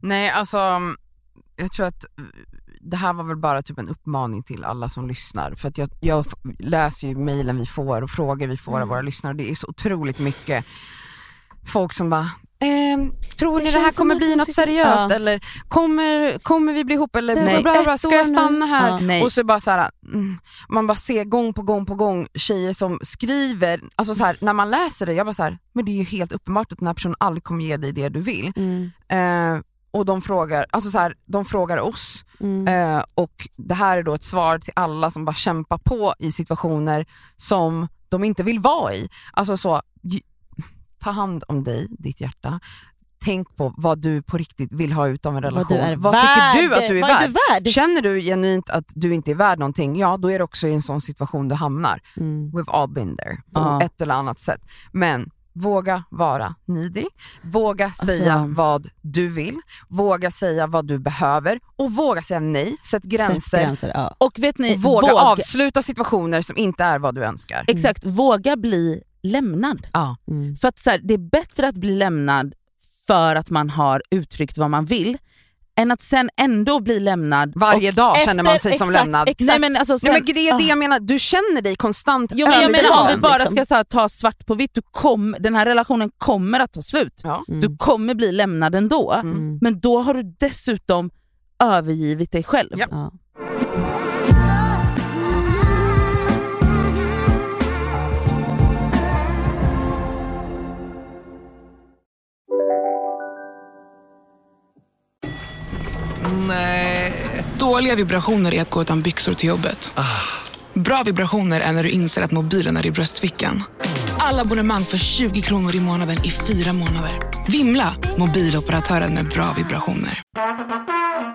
C: Nej, alltså jag tror att eh, det här var väl bara typ en uppmaning till alla som lyssnar. För att jag, jag f- läser ju mejlen vi får och frågor vi får
A: Mm.
C: av våra lyssnare. Det är så otroligt mycket folk som bara ehm, tror ni det här
A: känns
C: kommer
A: som att
C: bli
A: de
C: något
A: tycker-
C: seriöst?
A: Ja.
C: Eller kommer, kommer vi bli ihop? Eller
A: Det har
C: bla,
A: gått
C: bla,
A: ett
C: bla,
A: år
C: ska jag
A: nu.
C: stanna här?
A: Ja.
D: Nej.
C: Och så bara så här, mm, man bara ser gång på gång på gång tjejer som skriver, alltså så här, när man läser det, jag bara så här, men det är ju helt uppenbart att den här personen aldrig kommer ge dig det du vill.
A: Mm.
C: Eh, och de frågar, alltså så här, de frågar oss
A: Mm.
C: eh, och det här är då ett svar till alla som bara kämpar på i situationer som de inte vill vara i. Alltså så, j- ta hand om dig, ditt hjärta. Tänk på vad du på riktigt vill ha ut av en relation.
A: Vad du är
C: vad
A: värd.
C: tycker du att du är
A: Vad
C: värd?
A: är du värd?
C: Känner du genuint att du inte är värd någonting, ja då är det också i en sån situation du hamnar.
A: Mm.
C: We've all been there på
D: Ja.
C: ett eller annat sätt. Men våga vara needy. Våga
D: Alltså-
C: säga vad du vill. Våga säga vad du behöver. Och våga säga nej. Sätt gränser.
A: Sätt gränser ja.
D: Och vet ni,
C: Och våga,
D: våga-
C: avsluta situationer som inte är vad du önskar.
D: Exakt, våga bli lämnad.
C: Ja.
A: Mm.
D: För att så här, det är bättre att bli lämnad för att man har uttryckt vad man vill, än att sen ändå bli lämnad.
C: Varje
D: och,
C: dag känner man sig
A: exakt,
C: som lämnad.
A: Exakt.
D: Nej men alltså sen,
C: Nej, men det är det jag menar, du känner dig konstant
D: jo, men jag
C: överdriven.
D: menar om vi bara
A: liksom.
D: ska så här, ta svart på vitt, du kom, den här relationen kommer att ta slut.
C: Ja.
D: Du kommer bli lämnad ändå,
A: Mm.
D: men då har du dessutom övergivit dig själv.
C: Ja.
A: Ja.
K: Dåliga vibrationer är att gå utan byxor till jobbet. Bra vibrationer är när du inser att mobilen är i bröstfickan. Alla abonnemang för 20 kronor i månaden i fyra månader. Vimla! Mobiloperatören med bra vibrationer.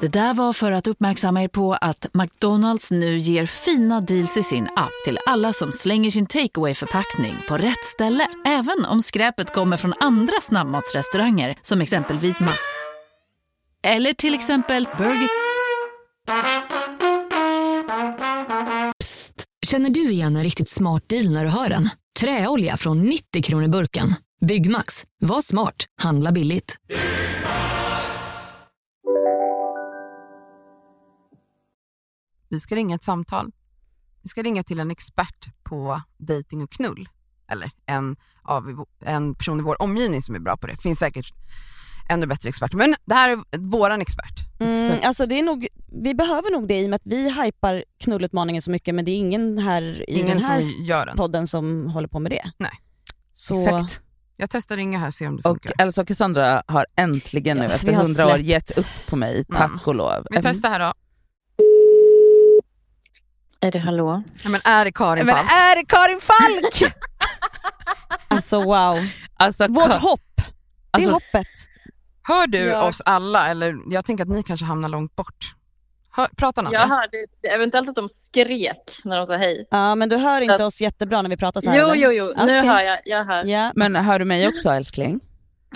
L: Det där var för att uppmärksamma er på att McDonalds nu ger fina deals i sin app till alla som slänger sin takeaway förpackning på rätt ställe. Även om skräpet kommer från andra snabbmatsrestauranger som exempelvis Ma... Eller till exempel Burger...
M: Känner du igen en riktigt smart deal när du hör den? Träolja från 90 kronor burken. Byggmax, var smart, handla billigt.
C: Vi ska ringa ett samtal. Vi ska ringa till en expert på dating och knull. Eller en, av, i vå- en person i vår omgivning som är bra på det. finns säkert ännu bättre experter. Men det här är våran expert.
A: Mm, alltså det är nog, vi behöver nog det i och med att vi hypar knullutmaningen så mycket men det är ingen här i
C: Ingen
A: den här
C: som gör den.
A: podden som håller på med det.
C: Nej.
A: Så,
D: Exakt.
C: Jag testar ringa här och ser om det
D: Och
C: funkar.
D: Elsa och Cassandra har äntligen nu
A: Ja,
D: efter
A: vi har
D: hundra år
A: släppt.
D: gett upp på mig, tack
C: Mm.
D: och lov.
C: Vi testar här då.
L: Är det hallå?
C: Ja, men är det Karin
D: Men
C: Falk?
D: är det Karin
A: *laughs*
D: Falk?
A: *laughs* Alltså wow.
D: alltså,
A: Vårt
D: Ka-
A: hopp, det är
D: alltså,
A: hoppet.
C: Hör du
N: Ja.
C: oss alla? Eller jag tänker att ni kanske hamnar långt bort. Hör, pratar Nadja?
N: Jag hörde eventuellt att de skrek när de sa hej.
A: Ja, men du hör inte oss jättebra när vi pratar så här.
N: Jo,
A: eller?
N: jo, jo. Nu
A: Okej.
N: hör jag. Jag hör.
A: Ja.
D: Men hör du mig också älskling?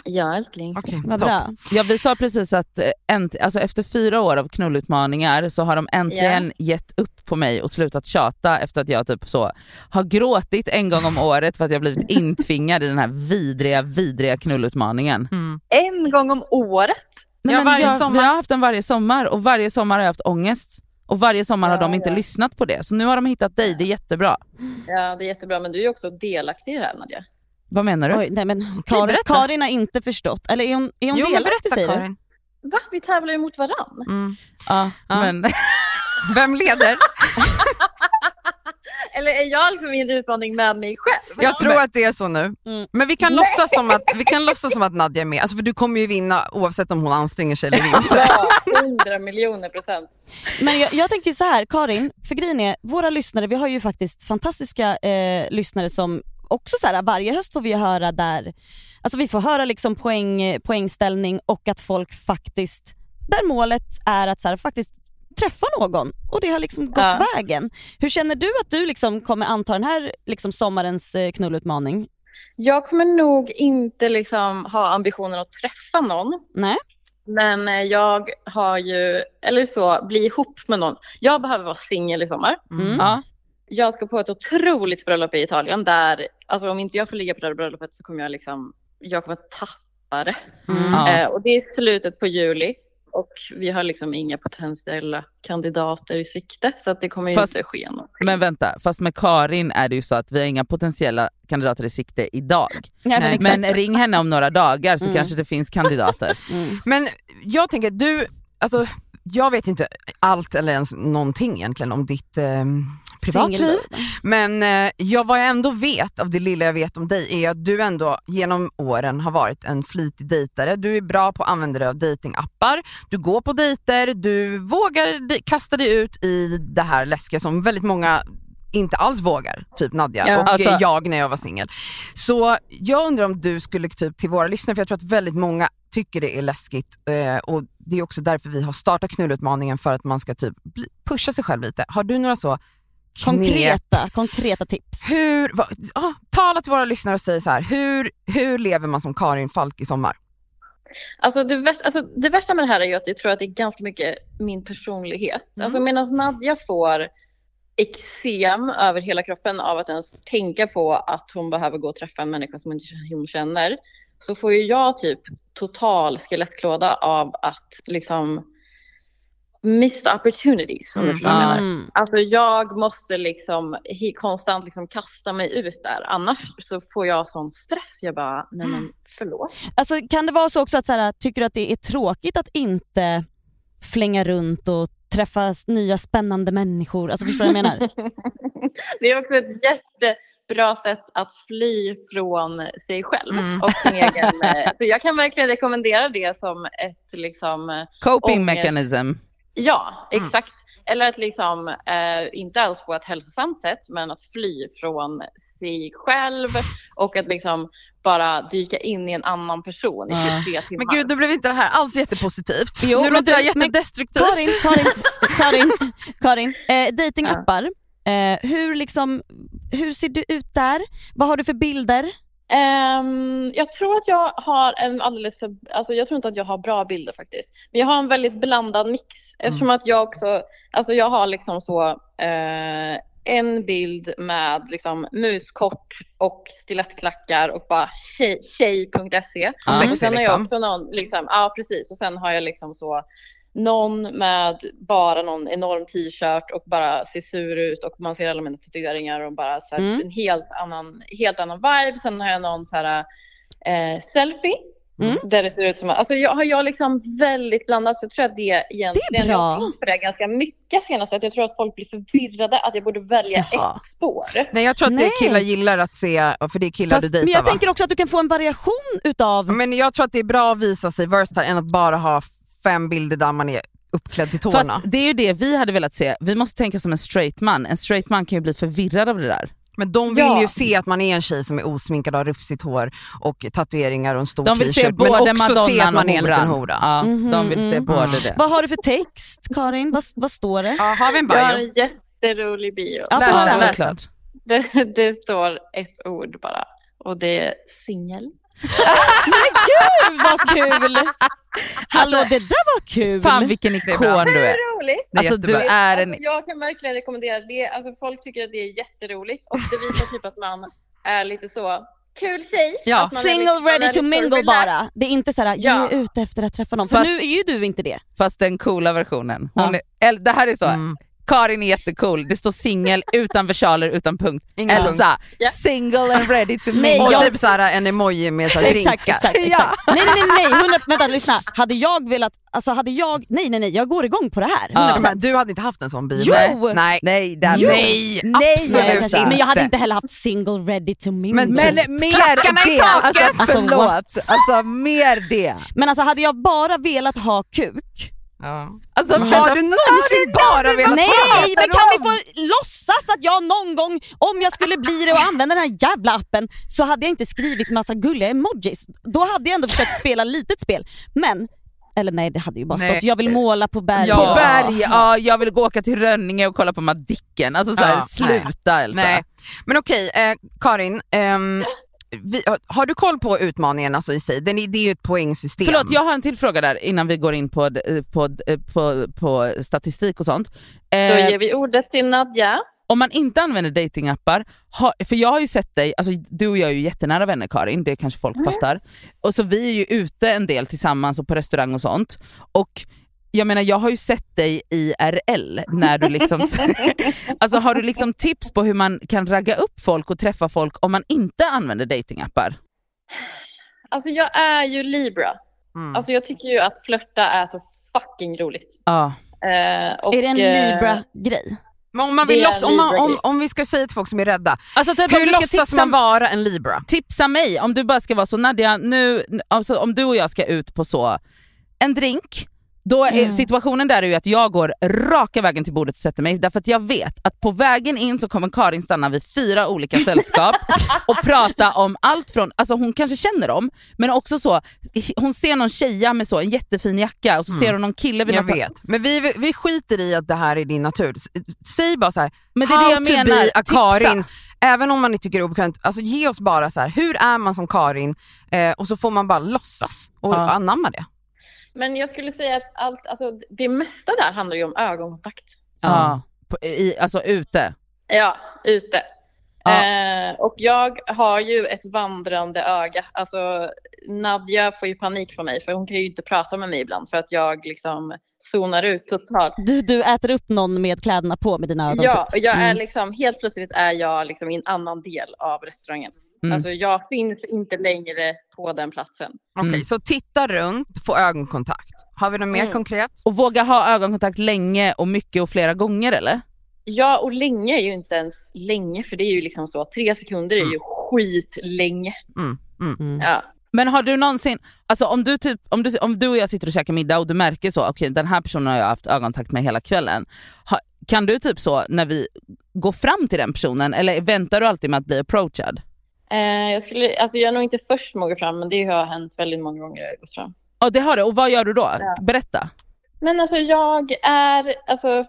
N: Ja, älskling.
C: Okay,
D: Vad bra. Ja, vi sa precis att eh, änt- alltså efter fyra år av knullutmaningar så har de äntligen gett upp på mig och slutat tjata efter att jag typ så har gråtit en gång om året för att
A: *laughs*
D: jag blivit intvingad i den här vidriga, vidriga knullutmaningen.
N: En gång om året.
D: Nej, men jag, Vi har haft den varje sommar och varje sommar har jag haft ångest. Och varje sommar har
N: Ja,
D: de inte
N: ja.
D: lyssnat på det. Så nu har de hittat dig, det är jättebra.
N: Ja, det är jättebra. Men du är ju också delaktig i det här, Nadja.
D: Vad menar du?
A: Oj, nej, men Karin,
N: berätta.
A: Karin har inte förstått. Eller är hon, är hon
N: Jo, men
A: delaktig
N: berätta,
A: säger du?
N: Karin. Va? Vi tävlar ju mot varann.
C: Mm.
D: Ja, men...
C: Vem leder?
N: *laughs* Eller är jag liksom i en utmaning med mig själv?
C: Jag tror att det är så nu. Men vi kan,
N: Nej.
C: låtsas som att, vi kan låtsas som att Nadja är med. Alltså, för du kommer ju vinna oavsett om hon anstränger sig eller inte.
N: Ja, 100 miljoner procent.
A: Men jag, jag tänker så här, Karin, för grejen är, våra lyssnare, vi har ju faktiskt fantastiska eh, lyssnare som också så här, varje höst får vi ju höra där, alltså vi får höra liksom poäng, poängställning och att folk faktiskt, där målet är att så här, faktiskt träffa någon och det har liksom gått
N: Ja.
A: vägen. Hur känner du att du liksom kommer anta den här liksom sommarens eh, knullutmaning?
N: Jag kommer nog inte liksom ha ambitionen att träffa någon.
A: Nej?
N: Men eh, jag har ju, eller så, bli ihop med någon. Jag behöver vara singel i sommar.
D: Mm. Ja.
N: Jag ska på ett otroligt bröllop i Italien där, alltså om inte jag får ligga på det här bröllopet så kommer jag liksom, jag kommer tappa det.
D: *laughs* Ja.
N: Eh, och det är slutet på juli och vi har liksom inga potentiella kandidater i sikte så att det kommer ju inte ske något.
D: Men vänta, fast med Karin är det ju så att vi har inga potentiella kandidater i sikte idag.
C: Nej, men
A: liksom
C: exakt.
D: men ring henne om några dagar så
C: Mm.
D: kanske det
C: *laughs*
D: finns kandidater.
C: Men jag tänker, du, alltså, jag vet inte allt eller ens någonting egentligen om ditt eh, privatliv.
D: Singelliv.
C: Men eh, jag, vad jag ändå vet av det lilla jag vet om dig är att du ändå genom åren har varit en flitig dejtare. Du är bra på att använda dig av datingappar. du går på dejter, du vågar di- kasta dig ut i det här läskiga som väldigt många inte alls vågar, typ Nadja
D: Ja.
C: och eh,
D: Alltså-
C: jag när jag var singel. Så jag undrar om du skulle typ till våra lyssnare, för jag tror att väldigt många tycker det är läskigt eh, och det är också därför vi har startat knullutmaningen för att man ska typ bli- pusha sig själv lite. Har du några så knep?
A: Konkreta, konkreta tips.
C: Hur, va, ah, tala till våra lyssnare och säg så här, hur, hur lever man som Karin Falk i sommar?
N: Alltså det, värsta, alltså det värsta med det här är ju att jag tror att det är ganska mycket min personlighet. Alltså medan Nadja får eksem över hela kroppen av att ens tänka på att hon behöver gå och träffa en människa som inte hon känner. Så får ju jag typ total skelettklåda av att liksom missed opportunities om du
O: Mm.
N: förstår vad jag menar.
O: Mm.
N: Alltså jag måste liksom he, konstant liksom kasta mig ut där annars så får jag sån stress. Jag bara, nej men förlåt.
A: Alltså, kan det vara så också att så här, tycker du att det är tråkigt att inte flänga runt och träffa s- nya spännande människor? Alltså förstår du vad jag menar?
N: Det är också ett jättebra sätt att fly från sig själv
C: Mm.
N: och sin egen. eh, Så jag kan verkligen rekommendera det som ett liksom eh,
D: Coping
N: ångest-
D: mechanism.
N: Ja,
C: Mm.
N: exakt. Eller att liksom, eh, inte alls på ett hälsosamt sätt, men att fly från sig själv och att liksom bara dyka in i en annan person i 23 timmar.
C: Men gud, nu blev inte det här alls jättepositivt.
N: Jo,
C: nu
N: men
C: låter
N: du-
C: jag
N: men
C: jättedestruktivt.
A: *laughs* Karin, Karin, Karin, Karin eh, datingappar. Eh, hur, liksom, hur ser du ut där? Vad har du för bilder?
N: Ehm, jag tror att jag har en alldeles för, alltså jag tror inte att jag har bra bilder faktiskt. Men jag har en väldigt blandad mix eftersom att jag också, alltså jag har liksom så eh, en bild med liksom muskort och stilettklackar och bara tjej- E. tjej.se.
O: Ja.
N: Och
O: Sexy,
N: sen har jag
O: liksom.
N: också någon, liksom, ja precis, och sen har jag liksom så någon med bara någon enorm t-shirt och bara ser sur ut och man ser alla mina tatueringar och bara så här,
O: Mm.
N: en helt annan, helt annan vibe. Sen har jag någon så här eh, selfie där det ser ut som, alltså jag har jag liksom väldigt blandat så jag tror att det egentligen, jag
A: bra.
N: har tänkt på det ganska mycket senast att jag tror att folk blir förvirrade att jag borde välja
C: Jaha.
N: ett spår.
C: Nej, jag tror att
N: Nej.
C: det killar gillar att se, för det är killar
A: Fast-
C: du dejtar
A: men jag
C: va? Mm.
A: tänker också att du kan få en variation utav...
C: Men jag tror att det är bra att visa sig versatile än att bara ha fem bilder där man är uppklädd till tårna.
D: Fast det är ju det vi hade velat se. Vi måste tänka som en straight man. En straight man kan ju bli förvirrad av det där.
C: Men de vill
I: Ja.
C: ju se att man är en tjej som är osminkad, har rufsigt hår och tatueringar och en stor
D: De vill se
C: t-shirt.
D: både
C: Men också se
D: madonnan
C: att man
D: och
C: är en liten
D: horan.
C: hora. Mm-hmm. Mm.
D: Ja, de vill se både det.
A: Vad har du för text Karin? Vad, vad står det?
C: Ja, har vi en
N: Jag har en jätterolig bio.
A: Ja, Läs den, läs den.
N: Det, det står ett ord bara och det är singel.
A: Gud *laughs* vad kul! Hallå det där var kul!
D: Fan vilken ikon du är.
N: roligt.
D: Det är Alltså, du jättebra. är en-
N: Alltså, jag kan verkligen rekommendera det. Alltså, folk tycker att det är jätteroligt och det visar typ att man är lite så kul tjej.
A: Ja.
N: Att man är
A: Single
N: lite- man är
A: ready
N: lite
A: to
N: så
A: mingle
N: relaxed.
A: bara. Det är inte såhär, jag
N: Ja.
A: är ute efter att träffa någon. För
D: Fast-
A: nu är ju du inte det.
D: Fast den coola versionen. Hon är, eller, det här är så, Karin är jättecool, det står *laughs* singel utan versaler utan punkt.
C: Ingen
D: Elsa,
C: punkt.
D: single and ready *laughs* to mingle.
C: och typ såhär en emoji med så här drinkar.
A: Exakt, exakt. exakt. Nej, nej, nej, nej. 100, vänta, lyssna. Hade jag velat, alltså hade jag, nej, nej, nej, jag går igång på det här. 100%.
C: Men Du hade inte haft en sån bil?
A: Jo!
C: Nej,
D: nej,
A: Jo.
C: nej,
A: Nej,
C: absolut
A: kanske
C: inte.
A: Men jag hade inte heller haft single ready to mingle.
D: Men typ. Men mer det, alltså, förlåt. Alltså mer det.
A: Men alltså hade jag bara velat ha kuk.
D: Alltså, Men har vänta, du någonsin har du bara velat-
A: Nej
D: Vad pratar
A: men kan
D: du
A: vi få låtsas att jag någon gång, om jag skulle bli det och använda den här jävla appen så hade jag inte skrivit massa gulliga emojis. Då hade jag ändå försökt spela litet spel. Men, eller nej det hade ju bara
D: Nej.
A: stått jag vill måla på berg.
D: Ja. På berg, ja, jag vill gå åka till Rönninge och kolla på Madicken. Alltså såhär,
C: Ja,
D: sluta
C: nej.
D: Elsa.
C: Nej. Men okej, eh, Karin. ehm, vi, har du koll på utmaningen alltså i sig? Den, är- det är ju ett poängsystem.
D: Förlåt, jag har en till fråga där innan vi går in på, d- eh, på, d- på, på statistik och sånt.
N: Då
D: Eh,
N: ger vi ordet till Nadja.
D: om man inte använder datingappar, ha, för jag har ju sett dig, alltså du och jag är ju jättenära vänner Karin, det kanske folk
N: Mm.
D: fattar. Och så vi är ju ute en del tillsammans och på restaurang och sånt. Och jag menar jag har ju sett dig IRL när du liksom, *laughs* alltså har du liksom tips på hur man kan ragga upp folk och träffa folk om man inte använder datingappar?
N: Alltså jag är ju
A: Mm.
N: Libra.
C: Mm.
N: Alltså jag tycker ju att flörta är så fucking roligt.
D: Ja.
N: Eh, och,
A: Är det en
N: eh,
A: Libra-grej?
C: Men om, man vill
N: Det är
C: låtsas, om, man, om,
N: Libra-grej.
C: om vi ska säga till folk som är rädda,
D: Alltså typ om
C: hur
D: du ska
C: låtsas
D: tipsa-
C: man vara en Libra?
D: Tipsa mig om du bara ska vara så Nadja, nu, alltså, om du och jag ska ut på så en drink, då är
C: Mm.
D: situationen där är ju att jag går raka vägen till bordet och sätter mig därför att jag vet att på vägen in så kommer Karin stanna vid fyra olika
C: *laughs*
D: sällskap och prata om allt från, alltså hon kanske känner dem, men också så, hon ser någon tjeja med så en jättefin jacka och så ser hon någon kille vid
C: Mm. Jag
D: något-
C: vet, men vi, vi skiter i att det här är din natur. S- Säg bara så här,
D: Men det är
C: how
D: det jag
C: to
D: menar.
C: be a
D: Tipsa.
C: Karin. Även om man inte tycker det är obekvämt, alltså ge oss bara så här, hur är man som Karin? Eh, och så får man bara låtsas och
D: Ja.
C: anamma det.
N: Men jag skulle säga att allt, alltså, det mesta där handlar ju om ögonkontakt.
D: Ja, på, i, alltså ute.
N: Ja, ute.
D: Ja.
N: Eh, och jag har ju ett vandrande öga. Alltså, Nadja får ju panik på mig för hon kan ju inte prata med mig ibland för att jag liksom zonar ut totalt.
A: Du, du äter upp någon med kläderna på med dina ögon
N: Ja,
A: typ.
N: och jag är
A: Mm.
N: liksom, helt plötsligt är jag liksom i en annan del av restaurangen.
A: Mm.
N: Alltså jag finns inte längre på den platsen.
C: Okej,
D: Mm.
C: så titta runt, få ögonkontakt. Har vi något mer
N: Mm.
C: konkret?
D: Och våga ha ögonkontakt länge och mycket och flera gånger eller?
N: Ja, och länge är ju inte ens länge för det är ju liksom så, tre sekunder
A: Mm.
N: är ju skitlänge. Ja.
D: Men har du någonsin, alltså om du, typ, om, du, om du och jag sitter och käkar middag och du märker så, okej den här personen har jag haft ögonkontakt med hela kvällen. Ha, kan du typ så när vi går fram till den personen eller väntar du alltid med att bli approachad?
N: Eh, jag, skulle, alltså jag är nog inte först med att gå fram men det har hänt väldigt många gånger jag har gått fram.
D: Ja det har du, och vad gör du då? Berätta.
N: Men alltså jag är, alltså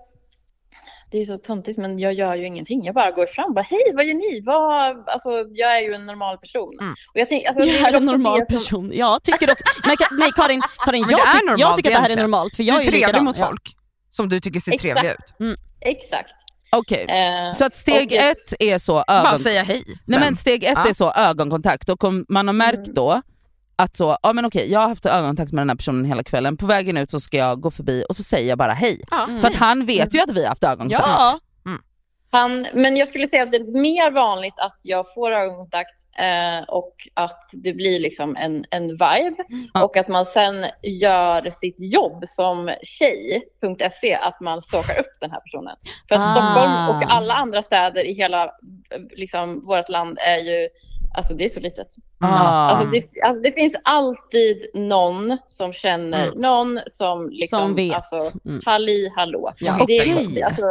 N: det är så töntigt men jag gör ju ingenting. Jag bara går fram och bara hej vad gör ni? Vad, alltså jag är ju en normal person. Och jag, tänk, alltså, det
A: jag är
N: väl
A: en
N: också
A: normal
N: det som-
A: person. Jag tycker dock, men, Ka- nej Karin, Karin
C: Men
A: jag,
C: det är
A: tyck- jag
C: normalt
A: tycker att det här är
C: egentligen.
A: normalt för
C: Du är
A: jag är,
C: trevlig
A: likadan.
C: mot
A: Ja.
C: folk. Som du tycker ser
N: Exakt.
C: trevliga ut.
N: Exakt.
D: Okej,
N: Eh,
D: så att steg
N: och-
D: ett är så ögon...
C: Bara säga hej
D: Nej
C: sen.
D: men steg ett
C: Ja. Mm.
D: är så ögonkontakt och om man har märkt då att så, ja men okej jag har haft ögonkontakt med den här personen hela kvällen, på vägen ut så ska jag gå förbi och så säger jag bara hej.
N: Ja.
D: För
C: Mm.
D: att han vet ju att vi har haft ögonkontakt.
N: Ja. Han, men jag skulle säga att det är mer vanligt att jag får ögonkontakt eh, och att det blir liksom en, en vibe. Och att man sen gör sitt jobb som tjej.se, att man stalkar upp den här personen. För att
A: Ah.
N: Stockholm och alla andra städer i hela eh, liksom, vårt land är ju, alltså det är så litet.
A: Ah.
N: Alltså, det, alltså det finns alltid någon som känner någon som liksom,
A: Mm. Som vet.
N: alltså
A: Mm.
N: halli hallå.
A: Ja.
N: Det är,
A: Okej.
C: Mm.
N: alltså,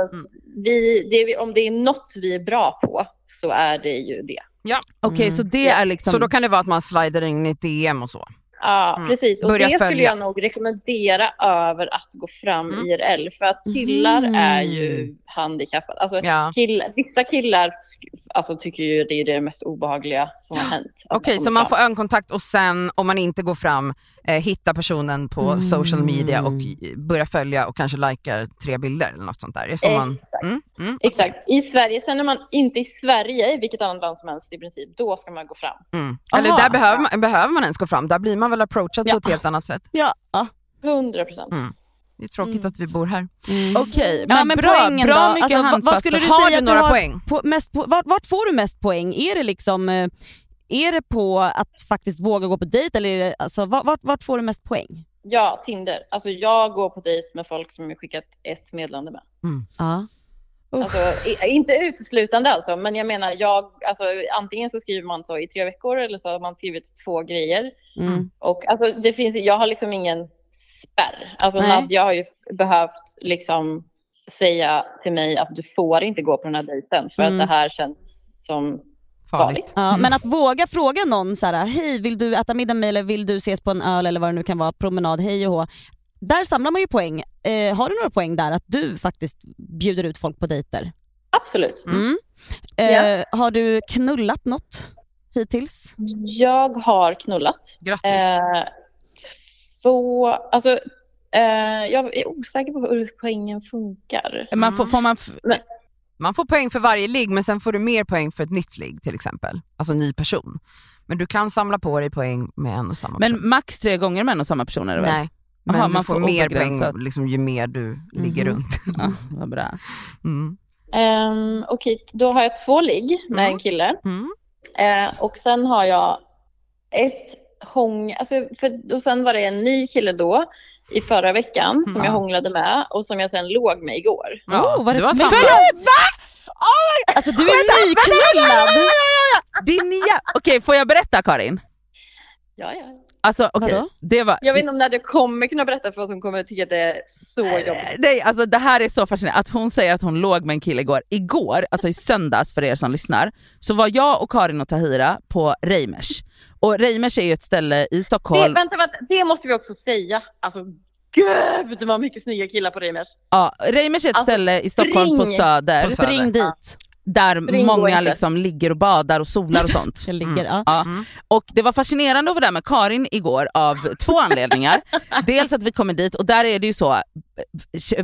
N: vi, det, vi- om det är något vi är bra på så är det ju det.
C: Ja.
D: Okej,
A: Mm.
D: så det är liksom-
C: Så då kan det vara att man slider in i ett DM och så?
N: Ja,
C: Mm.
N: precis. Och
C: Börja
N: det skulle
C: följa.
N: jag nog rekommendera över att gå fram IRL. För att killar
C: Mm.
N: är ju handikappade. Alltså,
C: Ja.
N: kill, vissa killar sk- alltså, tycker ju det är det mest obehagliga som har hänt. att
C: Okej,
N: komma
C: så man
N: fram.
C: får ögonkontakt och sen om man inte går fram, eh, hitta personen på
N: Mm.
C: social media och i- börja följa och kanske likar tre bilder eller något sånt där. Det är så man,
N: Exakt.
C: mm, mm,
N: Exakt. I Sverige, sen när man inte i Sverige, i vilket annat land som helst i princip, då ska man gå fram.
C: mm. Eller
N: Aha.
C: där behöver man, behöver man ens gå fram, där blir man väl approachad på ett helt annat sätt.
A: Ja.
N: 100 procent.
C: Mm. Det är tråkigt att vi bor här.
D: Okej,
A: Mm. Ja, men poängen då? Alltså, vad- vad skulle du
C: Har
A: säga
C: du
A: att
C: några
A: har
C: poäng?
A: På, mest po vart, vart får du mest poäng? Är det liksom eh, är det på att faktiskt våga gå på dejt eller är det, alltså, va- vart, vart får du mest poäng?
N: Ja, Tinder. Alltså jag går på dejt med folk som jag skickat ett meddelande med.
A: Ja.
N: Alltså, i- inte uteslutande alltså, men jag menar, jag, alltså, antingen så skriver man så i tre veckor eller så har man skrivit två grejer.
A: Mm.
N: Och alltså, det finns, jag har liksom ingen spärr. Alltså
A: Nej.
N: Nadja har ju behövt liksom säga till mig att du får inte gå på den här dejten för
A: Mm.
N: att det här känns som farligt.
A: Ja, men att våga fråga någon så här, hej vill du äta middag med mig eller vill du ses på en öl eller vad det nu kan vara, promenad, hej och hå. Där samlar man ju poäng. Eh, har du några poäng där att du faktiskt bjuder ut folk på dejter?
N: Absolut.
A: Mm. Eh, Har du knullat något hittills?
N: Jag har knullat.
C: Grattis.
N: Eh, två, alltså, eh, jag är osäker på hur poängen funkar.
D: Man får, får man
A: Mm.
D: f-
C: Man får poäng för varje ligg, men sen får du mer poäng för ett nytt ligg till exempel. Alltså ny person. Men du kan samla på dig poäng med en och samma person.
D: men max tre gånger med en och samma person är det väl?
C: Nej, men
D: Jaha,
C: du
D: man
C: får,
D: får
C: mer
D: obegränsat.
C: poäng liksom, ju mer du ligger
D: Mhm.
C: runt.
D: Ja, vad
A: Oh,
D: bra.
C: Mm.
N: Ehm, Okej, då har jag två ligg med en kille. Eh, och sen har jag ett hång... Alltså, för, och sen var det en ny kille då i förra veckan som jag hånglade med och som jag sen låg med igår.
A: Ja, oh, var det,
N: du har
A: men
N: samlat.
A: gud, va? Oh alltså du
N: Vänta,
A: är nyknullad!
D: Din nya... Okej, får jag berätta Karin?
N: Ja, ja.
D: Alltså okej,
N: Vadå?
D: det var...
N: Jag vet inte om Nadja kommer kunna berätta för oss som kommer att tycka att det är så jobbigt.
D: Nej, alltså det här är så fascinerande. Att hon säger att hon låg med en kille igår. Igår, alltså i söndags för er som lyssnar, så var jag och Karin och Tahira på Reimers. Och Reimers är ju ett ställe i
N: Det,
D: Stockholm.
N: vänta, vänta, det måste vi också säga. Alltså, gud vad mycket snygga killar på Reimers.
D: Ja, Reimers är ett
N: Alltså,
D: ställe i Stockholm på
N: spring.
D: Söder.
N: På Söder. Spring dit.
D: Där
N: Spring går
D: många
N: inte.
D: liksom ligger och badar och solar och sånt.
A: Jag ligger, ja.
D: Mm. Och det var fascinerande att vara där med Karin igår av
C: *laughs*
D: två anledningar. Dels att vi kommer dit och där är det ju så,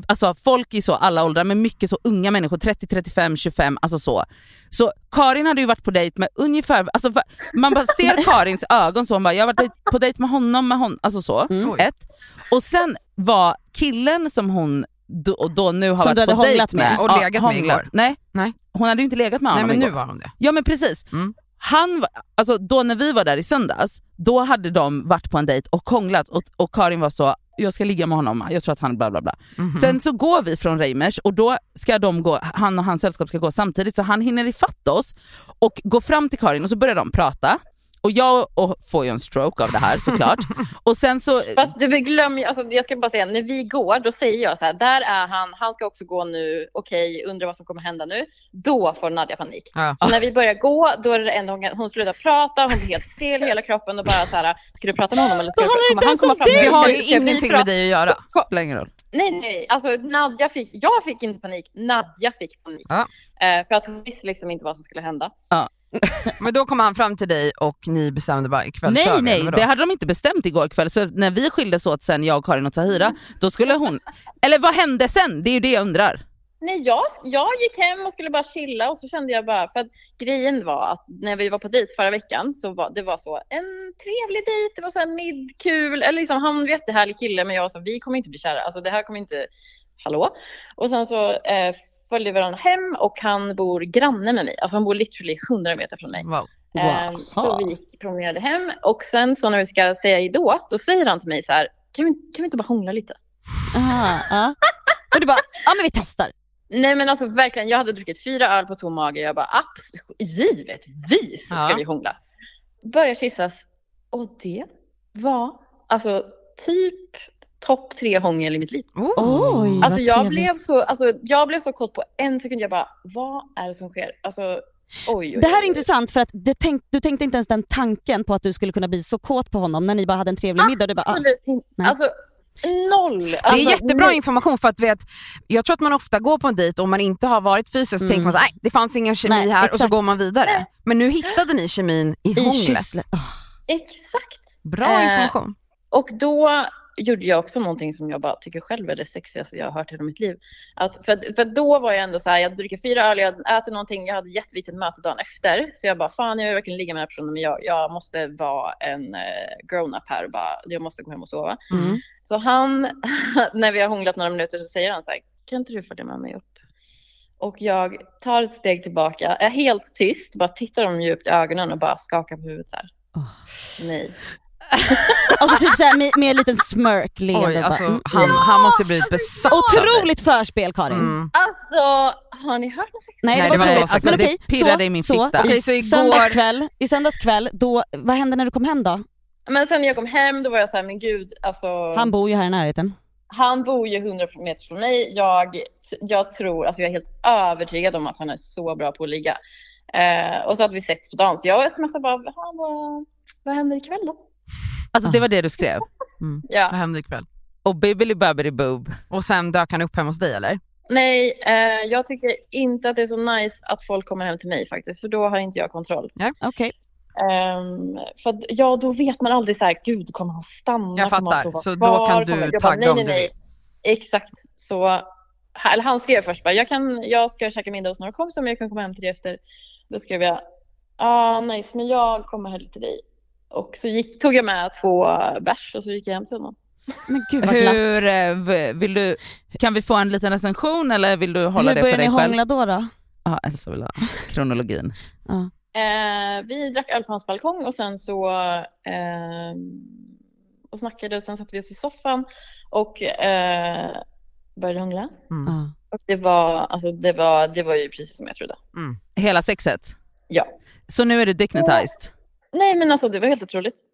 D: alltså folk i så alla åldrar men mycket så unga människor, 30, 35, 25, alltså så. Så Karin hade ju varit på dejt med ungefär, alltså va- man bara
C: *laughs*
D: ser Karins ögon så, hon bara jag har varit på dejt med honom, med hon, alltså så.
C: Mm.
D: Ett. Och sen var killen som hon då, och då nu har
C: Som du
D: varit
C: hade
D: på dejt
C: hånglat med.
D: med.
C: Och
D: ja,
C: legat med
D: hånglat.
C: igår.
D: Nej. hon hade ju inte legat med
C: Nej,
D: honom
C: men nu
D: igår.
C: var de det.
D: Ja men precis.
C: Mm.
D: Han, var- alltså, då när vi var där i söndags, då hade de varit på en dejt och hånglat och, och Karin var så, jag ska ligga med honom, jag tror att han bla bla bla.
C: Mhm.
D: Sen så går vi från Reimers och då ska de gå, han och hans sällskap ska gå samtidigt så han hinner ifatt oss och går fram till Karin och så börjar de prata. Och jag och får ju en stroke av det här
C: *laughs*
D: såklart. och sen så... eh,
N: Fast du glömmer alltså jag ska bara säga, när vi går då säger jag så här, där är han, han ska också gå nu, okej, undrar vad som kommer hända nu. Då får Nadja panik.
C: Ja.
N: Så när vi börjar gå, då är det enda hon, kan- hon slutar prata, hon blir helt stel i hela kroppen och bara så här, ska du prata med honom eller ska du kommer han komma fram? till
C: Det
N: dig?
C: har ju
N: Ska vi
C: ingenting med
N: prata?
C: dig att göra.
D: Spelar ingen roll.
N: Nej, nej, alltså Nadja fick, jag fick inte panik, Nadja fick panik.
C: Ja.
N: Eh, för att hon visste liksom inte vad som skulle hända.
D: Ja.
C: Men då kommer han fram till dig och ni bestämde bara ikväll kör
D: Nej
C: vi,
D: nej,
C: eller vadå?
D: det hade de inte bestämt igår kväll. Så när vi skildes åt sen, jag, Karin och Tahira, då skulle hon... Eller vad hände sen? Det är ju det jag undrar.
N: Nej, jag, jag gick hem och skulle bara chilla och så kände jag bara, för att grejen var att när vi var på dejt förra veckan så var det var så en trevlig dejt, det var så här midkul, eller liksom han var en jättehärlig kille men jag var så vi kommer inte bli kära, alltså det här kommer inte, hallå? Och sen så eh, följde vi varandra hem och han bor granne med mig, alltså han bor literally 100 meter från mig. Ehm, Så vi gick, promenerade hem och sen så när vi ska säga hejdå, då säger han till mig så här, kan vi, kan vi inte bara hångla lite?
A: Aha, ja. Och du bara, ja men vi testar.
N: Nej men alltså verkligen, jag hade druckit fyra öl på tom mage. Jag bara absolut, givetvis ska
O: Ja.
N: vi hångla. Börjar kyssas och det var alltså typ topp tre hångel i mitt liv.
A: Oj, vad
N: alltså, jag,
A: trevligt.
N: blev så, alltså, jag blev så kort på en sekund. Jag bara, vad är det som sker? Alltså, oj, oj, oj.
A: Det här är intressant för att det tänk, du tänkte inte ens den tanken på att du skulle kunna bli så kåt på honom när ni bara hade en trevlig middag. Du bara, ah,
N: Absolut inte. Alltså, noll. Alltså,
C: Det är jättebra information för att vet, jag tror att man ofta går på en dejt om man inte har varit fysiskt så tänker man så, nej det fanns ingen kemi
N: Nej,
C: här och
N: exakt.
C: så går man vidare. Men nu hittade ni kemin i, hånglet.
N: Exakt.
C: Bra
N: Eh,
C: information.
N: Och då gjorde jag också någonting som jag bara tycker själv är det sexigaste jag har hört i hela mitt liv. Att för, för då var jag ändå så här, jag hade druckit fyra öl, jag hade ätit någonting, jag hade jätteviktigt möte dagen efter. Så jag bara, fan jag vill verkligen ligga med den här personen men jag, jag måste vara en eh, grown-up här och bara, jag måste gå hem och sova.
E: Mm.
N: Så han, *laughs* när vi har hånglat några minuter så säger han så här, kan inte du följa med mig upp? Och jag tar ett steg tillbaka, är helt tyst, bara tittar dem djupt i ögonen och bara skakar på huvudet så här. Nej.
A: Och så typ såhär med, med en liten smörk leende.
C: Oj,
A: bara,
C: alltså,
A: mm.
C: han, han måste ju blivit besatt Mm. av dig.
A: Otroligt förspel Karin.
N: Alltså, har ni hört något sexigt?
A: Nej, det var, så
D: alltså,
A: Men
D: Mm. det
A: okej,
D: pirrade
A: så,
D: i min
A: så,
D: fitta. Okej,
A: i,
D: så igår-
A: söndagskväll, I söndagskväll, då, vad hände när du kom hem då?
N: Men sen när jag kom hem då var jag så här, men gud, alltså.
A: Han bor ju här i närheten.
N: han bor ju 100 meter från mig. Jag, jag tror, alltså jag är helt övertygad om att han är så bra på att ligga. Eh, och så hade vi sex på dagen, så jag smsade bara, "Jaha, vad, vad händer ikväll då?
D: Alltså
A: Ah.
D: det var det du skrev?
N: Ja.
C: Vad händer ikväll?
D: Och bibbeli babbeli boob.
C: Och sen dök han upp hemma hos dig eller?
N: Nej, eh, jag tycker inte att det är så nice att folk kommer hem till mig faktiskt, för då har inte jag kontroll.
C: Ja.
A: Okej.
N: Ehm, för att, ja, då vet man aldrig så här, gud kommer han stanna?
C: Jag
N: Kommer
C: fattar.
N: han sova
C: Så då
N: kvar?
C: kan du
N: Kommer-" Jag
C: tagga om
N: nej,
C: du
N: nej, nej. Exakt. Så, han- eller han skrev först bara, jag, kan, jag ska käka middag hos några kompisar men jag kan komma hem till dig efter. Då skrev jag, ah, nice men jag kommer hem till dig. Och så gick, tog jag med två bärs och så gick jag hem till honom.
A: Men gud vad glatt.
D: Hur, eh, v- vill du, kan vi få en liten recension eller vill du hålla
A: Hur
D: det för
A: började
D: dig
A: ni
D: själv?
A: hångla då? då?
D: Ja, Elsa vill ha kronologin.
N: Eh, vi drack öl på hans balkong och sen så ehm, och snackade och sen satte vi oss i soffan och eh, började hångla. Och det var, alltså, det, var, det var ju precis som jag trodde.
D: Hela sexet?
N: Ja.
D: Så nu är du dignitized?
N: Nej men alltså det var helt otroligt.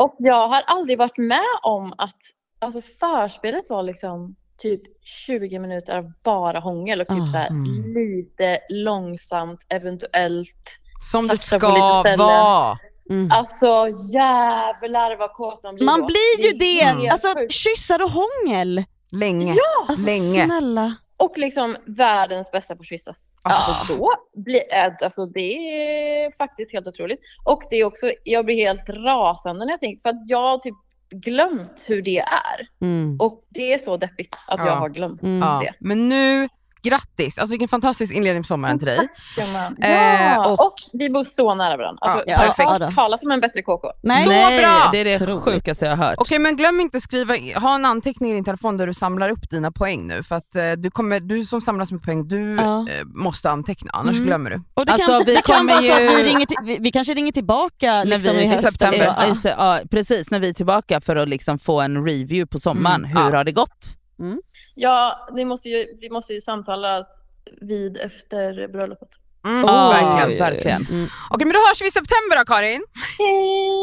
N: Och jag har aldrig varit med om att alltså, förspelet var liksom typ 20 minuter av bara hångel och typ så här lite långsamt eventuellt.
C: Som det
N: tafsa på
C: ska
N: lite ställen.
C: vara.
N: Alltså jävlar vad kåt man blir
A: Mm. Man
N: då.
A: blir ju det!
N: helt
A: Alltså
N: sjukt.
A: kyssar och hångel.
C: Länge.
N: Ja!
A: Alltså snälla.
N: Och liksom världens bästa på att kyssas. Alltså då blir, äh, alltså det är faktiskt helt otroligt. Och det är också, jag blir helt rasande när jag tänker, för att jag har typ glömt hur det är.
D: Mm.
N: Och det är så deppigt att jag
C: Ja.
N: har glömt
C: Ja.
N: det.
C: Men nu, grattis! Alltså vilken fantastisk inledning på sommaren till dig.
N: Ja, men-
C: Eh,
N: Ja,
C: och-
N: och, vi bor så nära varandra. Alltså,
C: Ja, perfekt.
N: ja, Tala som en bättre KK.
C: Så bra!
D: det är det sjukaste jag har hört.
C: Okej men glöm inte skriva, i- ha en anteckning i din telefon där du samlar upp dina poäng nu för att eh, du, kommer, du som samlar så mycket poäng, du
A: Ja.
C: eh, måste anteckna annars
A: Mm.
C: glömmer du.
A: Och det
D: Alltså,
A: kan, det kan vara så att vi, ringer till, vi, vi kanske ringer tillbaka
D: när
A: liksom
D: vi
A: i höst.
D: Ja,
A: Ja.
D: just det. ja, precis, när vi är tillbaka för att liksom få en review på sommaren.
N: Mm,
D: Hur
N: ja.
D: har det gått?
N: Ja, ni måste ju, vi måste ju samtala vid efter bröllopet.
C: Mm,
D: Ja,
C: verkligen.
D: verkligen.
A: Mm.
C: Okej men då hörs vi i september då Karin.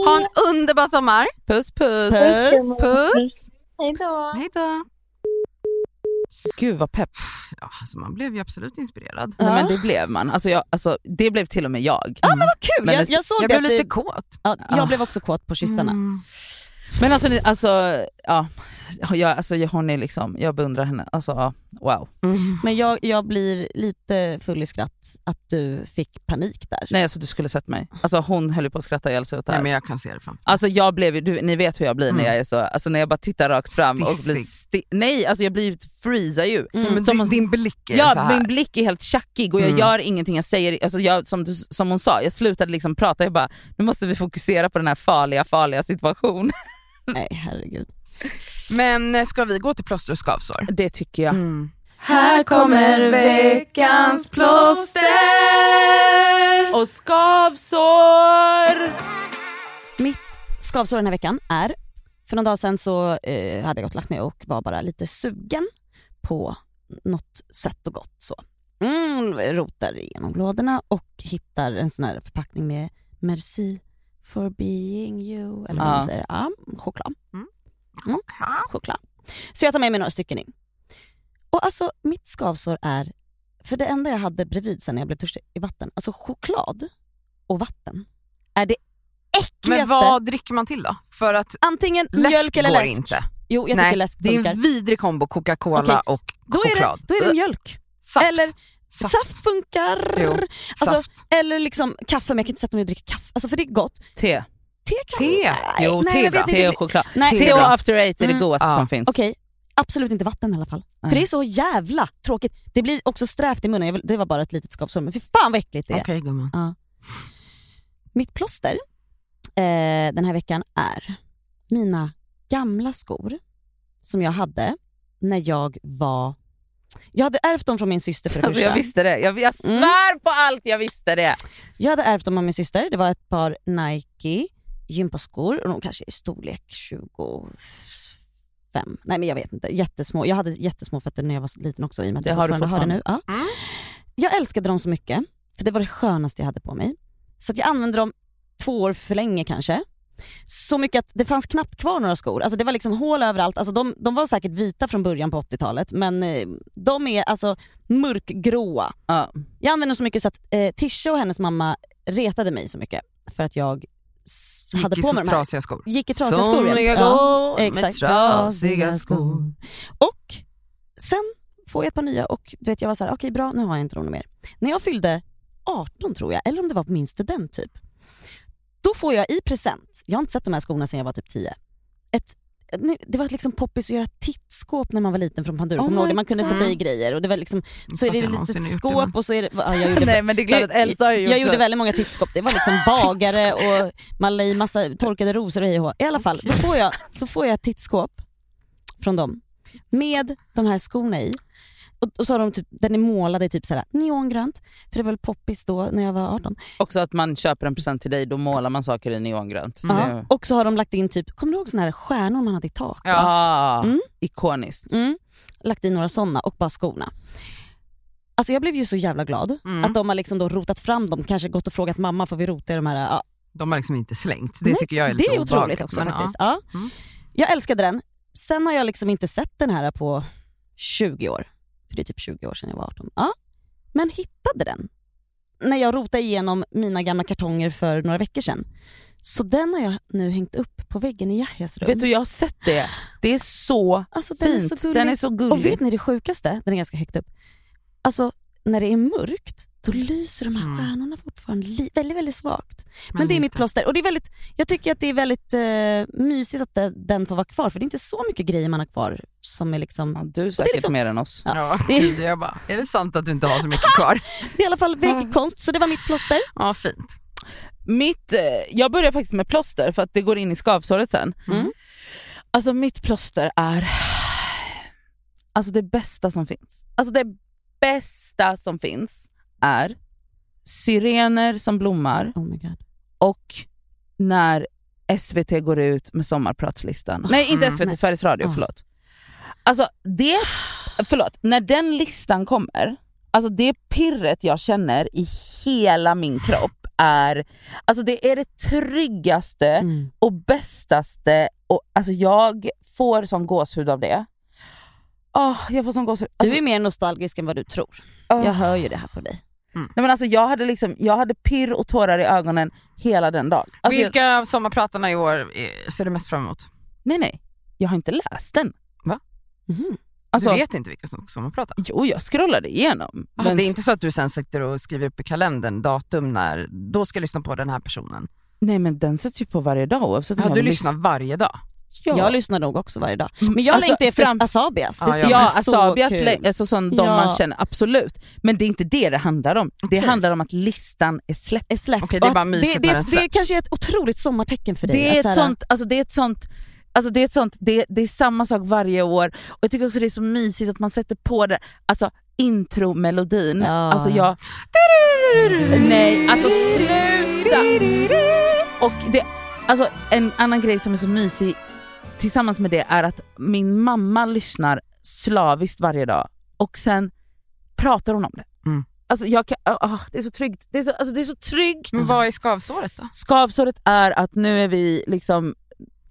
C: Ha en underbar sommar.
D: Puss puss.
C: Puss. Puss.
N: Hej då.
C: Hej då.
D: Gud vad pepp.
C: Ja, alltså man blev ju absolut inspirerad.
D: Nej, men det blev man. Alltså, jag, alltså, det blev till och med jag.
A: Ja, men vad kul!
D: Men
A: jag,
D: det-
A: jag såg
D: jag
A: det
D: blev
A: att det-
D: lite
C: kåt. Mm.
A: Ja, jag
D: Ah.
A: blev också kåt på kyssarna.
D: Men alltså, ni, alltså, ja, jag, alltså jag- hon är liksom, jag beundrar henne. Alltså, ja, wow.
A: Men jag, jag blir lite full i skratt att du fick panik där.
D: Nej alltså du skulle sett mig. Alltså hon höll ju på att skratta ihjäl sig åt det här.
C: Nej, men jag kan se det framför
D: Alltså jag blev ju, du, ni vet hur jag blir när
C: Mm.
D: jag är så, alltså när jag bara tittar rakt fram och blir
C: Stissig.
D: sti- Nej alltså jag blir freezar ju.
C: Mm. Men din, din blick är så
D: Ja,
C: här.
D: min blick är helt tjackig och jag
C: Mm.
D: gör ingenting. Jag säger, alltså jag, som, du- som hon sa, jag slutade liksom prata. Jag bara, nu måste vi fokusera på den här farliga, farliga situationen.
A: Nej, herregud.
C: Men eh, ska vi gå till plåster och skavsår? Mm.
D: Det tycker jag.
E: Här kommer veckans plåster
D: och skavsår.
A: Mitt skavsår den här veckan är, för någon dag sedan så eh, hade jag gått och lagt mig och var bara lite sugen på något sött och gott. Så. Mm, rotar igenom lådorna och hittar en sån här förpackning med Merci for being you, eller vad
D: Ja.
A: man säger, ja, choklad. Mm. Choklad. Så jag tar med mig några stycken in. Och alltså mitt skavsår är, för det enda jag hade bredvid sen när jag blev törstig i vatten, alltså choklad och vatten är det äckligaste.
C: Men vad dricker man till då? För att
A: Antingen
C: läsk
A: mjölk eller
C: går
A: läsk.
C: inte.
A: Jo, jag
C: Nej,
A: tycker läsk
C: Det är
A: funkar.
C: en vidrig kombo, Coca-Cola
A: Okej,
C: och
A: då är
C: choklad. Eh,
A: Det, då är det mjölk.
C: Saft.
A: Eller
C: Saft.
A: saft, funkar.
C: Jo,
A: Alltså,
C: saft.
A: Eller liksom kaffe, men jag kan inte sätta mig och dricka kaffe. Alltså, för det är gott.
D: Te.
A: Te kan
C: Te? Jo,
A: nej,
C: te är
A: jag
C: bra.
A: vet inte.
D: Te och choklad.
A: Nej.
D: Te och after eight är det
A: Mm.
D: godaste
A: Ja.
D: som finns.
A: Okej, absolut inte vatten i alla fall.
D: Nej.
A: För det är så jävla tråkigt. Det blir också strävt i munnen. Jag vill- Det var bara ett litet skavsår, men fy fan vad äckligt det är.
C: Okej gumman.
A: Ja. Mitt plåster eh, den här veckan är mina gamla skor som jag hade när jag var... Jag hade ärvt dem från min syster för det
D: Alltså
A: första.
D: jag visste det, jag, jag svär på allt jag visste det.
A: Jag hade ärvt dem av min syster. Det var ett par Nike gympaskor och de kanske är i storlek 25. Nej men jag vet inte. Jättesmå. Jag hade jättesmå fötter när jag var liten också i och med att
D: Det
A: jag
D: har du
A: fortfarande har det nu. Ja.
D: fortfarande.
A: Jag älskade dem så mycket för det var det skönaste jag hade på mig. Så att jag använde dem två år för länge kanske. Så mycket att det fanns knappt kvar några skor. Alltså det var liksom hål överallt. Alltså de, de var säkert vita från början på 80-talet men eh, de är alltså mörkgråa.
D: Ja.
A: Jag använde dem så mycket så att eh, Tisha och hennes mamma retade mig så mycket för att jag s-
C: Gick
A: hade
C: i
A: på
C: så
A: mig de här.
C: trasiga skor.
A: Gick i trasiga skor.
C: Somliga
A: egentligen.
C: går med
A: exakt.
C: trasiga skor.
A: Och sen får jag ett par nya och du vet, jag var så här: okej bra nu har jag inte dem mer. När jag fyllde 18 tror jag, eller om det var på min student typ. Då får jag i present, jag har inte sett de här skorna sedan jag var typ 10. Ett, nej, det var liksom poppis att göra tittskåp när man var liten från Panduro.
D: Oh
A: Kommer du ihåg det?
D: my
A: Man kunde sätta i
D: God.
A: grejer och det var liksom, så
D: tror
A: är
D: att
A: det
D: jag
A: ett
D: någonsin
A: litet
D: har gjort det,
A: skåp och så är det, ja, jag gjorde
D: Nej, men det är klart att Elsa har
A: jag,
D: gjort
A: jag gjorde
D: det.
A: väldigt många tittskåp. Det var
D: *laughs*
A: liksom bagare och man la i massa torkade rosor och hej och hå. I alla fall, då får jag, då får jag ett tittskåp från dem med de här skorna i. Och, och så har de typ, den är målad i typ såhär neongrönt, för det var väl poppis då när jag var 18.
D: Också att man köper en present till dig, då målar man saker i neongrönt.
A: Ja.
D: Det-
A: Och så har de lagt in typ, kommer du ihåg såna här stjärnor man hade i taket?
D: Ja,
A: Mm.
D: ikoniskt.
A: Mm. Lagt in några sådana och bara skorna. Alltså jag blev ju så jävla glad
C: Mm.
A: att de har liksom då rotat fram dem, kanske gått och frågat mamma får vi rota i de här? Ja.
C: De har liksom inte slängt. Det
A: Nej,
C: tycker jag är
A: Det
C: lite
A: är
C: obehagligt,
A: otroligt också
C: men ja.
A: faktiskt. Ja.
C: Mm.
A: Jag älskade den. Sen har jag liksom inte sett den här på 20 år. För det är typ 20 år sedan jag var 18. Ja. Men hittade den när jag rotade igenom mina gamla kartonger för några veckor sedan. Så den har jag nu hängt upp på väggen i Yahyas rum.
D: Mm. Vet du, jag har sett det. Det är så
A: Alltså, den är
D: fint.
A: så gullig.
D: den är så gullig.
A: Och vet ni det sjukaste? Den är ganska högt upp. Alltså när det är mörkt, då lyser de
C: Mm.
A: här stjärnorna fortfarande li- väldigt, väldigt svagt. Men,
C: Men
A: det är mitt
C: lite.
A: plåster. Och det är väldigt, jag tycker att det är väldigt eh, mysigt att de- den får vara kvar, för det är inte så mycket grejer man har kvar som är liksom...
D: Du är
A: Och det är
D: säkert
A: liksom-
D: mer än oss.
A: Ja.
C: Ja,
A: *laughs* Det, är,
C: gud, jag bara, är det sant att du inte har så mycket kvar?
A: *laughs*
C: Alltså,
A: det är i alla fall väggkonst, så det var mitt plåster.
C: Ja, fint.
D: Mitt, eh, jag börjar faktiskt med plåster för att det går in i skavsåret sen.
C: Mm.
D: Alltså mitt plåster är alltså det bästa som finns. Alltså det bästa som finns är syrener som blommar
A: Oh my God.
D: och när SVT går ut med sommarpratslistan. Nej inte
C: Mm,
D: SVT,
A: nej.
D: Sveriges Radio,
A: Ah.
D: förlåt. Alltså det, förlåt, när den listan kommer, alltså det pirret jag känner i hela min kropp är, alltså det är det tryggaste
A: Mm.
D: och bästaste, och, alltså jag får sån gåshud av det. Åh, jag får sån gåshud. Alltså,
A: Du är mer nostalgisk än vad du tror.
D: åh.
A: Jag hör ju det här på dig.
D: Nej, men alltså, jag, hade liksom, jag hade pirr och tårar i ögonen hela den dagen. Alltså, jag,
C: Vilka av sommarpratarna i år eh, ser du mest fram emot?
D: nej nej, jag har inte läst den.
A: Mhm.
D: Alltså,
C: du vet inte vilka som sommarpratar?
D: Jo, jag scrollade igenom.
C: Ah,
D: men
C: det är inte så att du sen sitter och skriver upp i kalendern datum när, då ska jag lyssna på den här personen.
D: Nej men den sätts ju på varje dag oavsett
C: Ja,
D: jag
C: du lyssnar varje dag?
D: Ja.
A: Jag lyssnar nog också varje dag. Men jag
D: Alltså,
A: längtar efter
D: fram-
A: Asabias. Det
C: Ja,
A: ska
C: jag
A: bli
D: Ja,
A: så
D: Asabias,
A: kul.
D: lä- alltså sån, de
A: Ja.
D: man känner, absolut. Men det är inte det det handlar om. Det handlar om att listan är släppt.
A: är släppt.
C: Okej, det är
A: Och
C: bara
A: att
C: mysigt
A: det,
C: när
A: det,
C: den
A: det
C: släpps.
A: kanske är ett otroligt sommartecken för dig.
D: Det är,
A: att så
D: ett
A: här-
D: sånt, alltså det är ett sånt, alltså det är ett sånt, det, det är samma sak varje år och jag tycker också det är så mysigt att man sätter på det, alltså intromelodin,
A: Ja.
D: alltså jag... Nej, alltså sluta! Och det, alltså en annan grej som är så mysig tillsammans med det är att min mamma lyssnar slaviskt varje dag och sen pratar hon om det.
C: Mm.
D: Alltså jag kan, ah, ah, det är så tryggt, det är
A: Mm.
D: så, alltså det är så tryggt.
C: Men vad är skavsåret då?
D: Skavsåret är att nu är vi liksom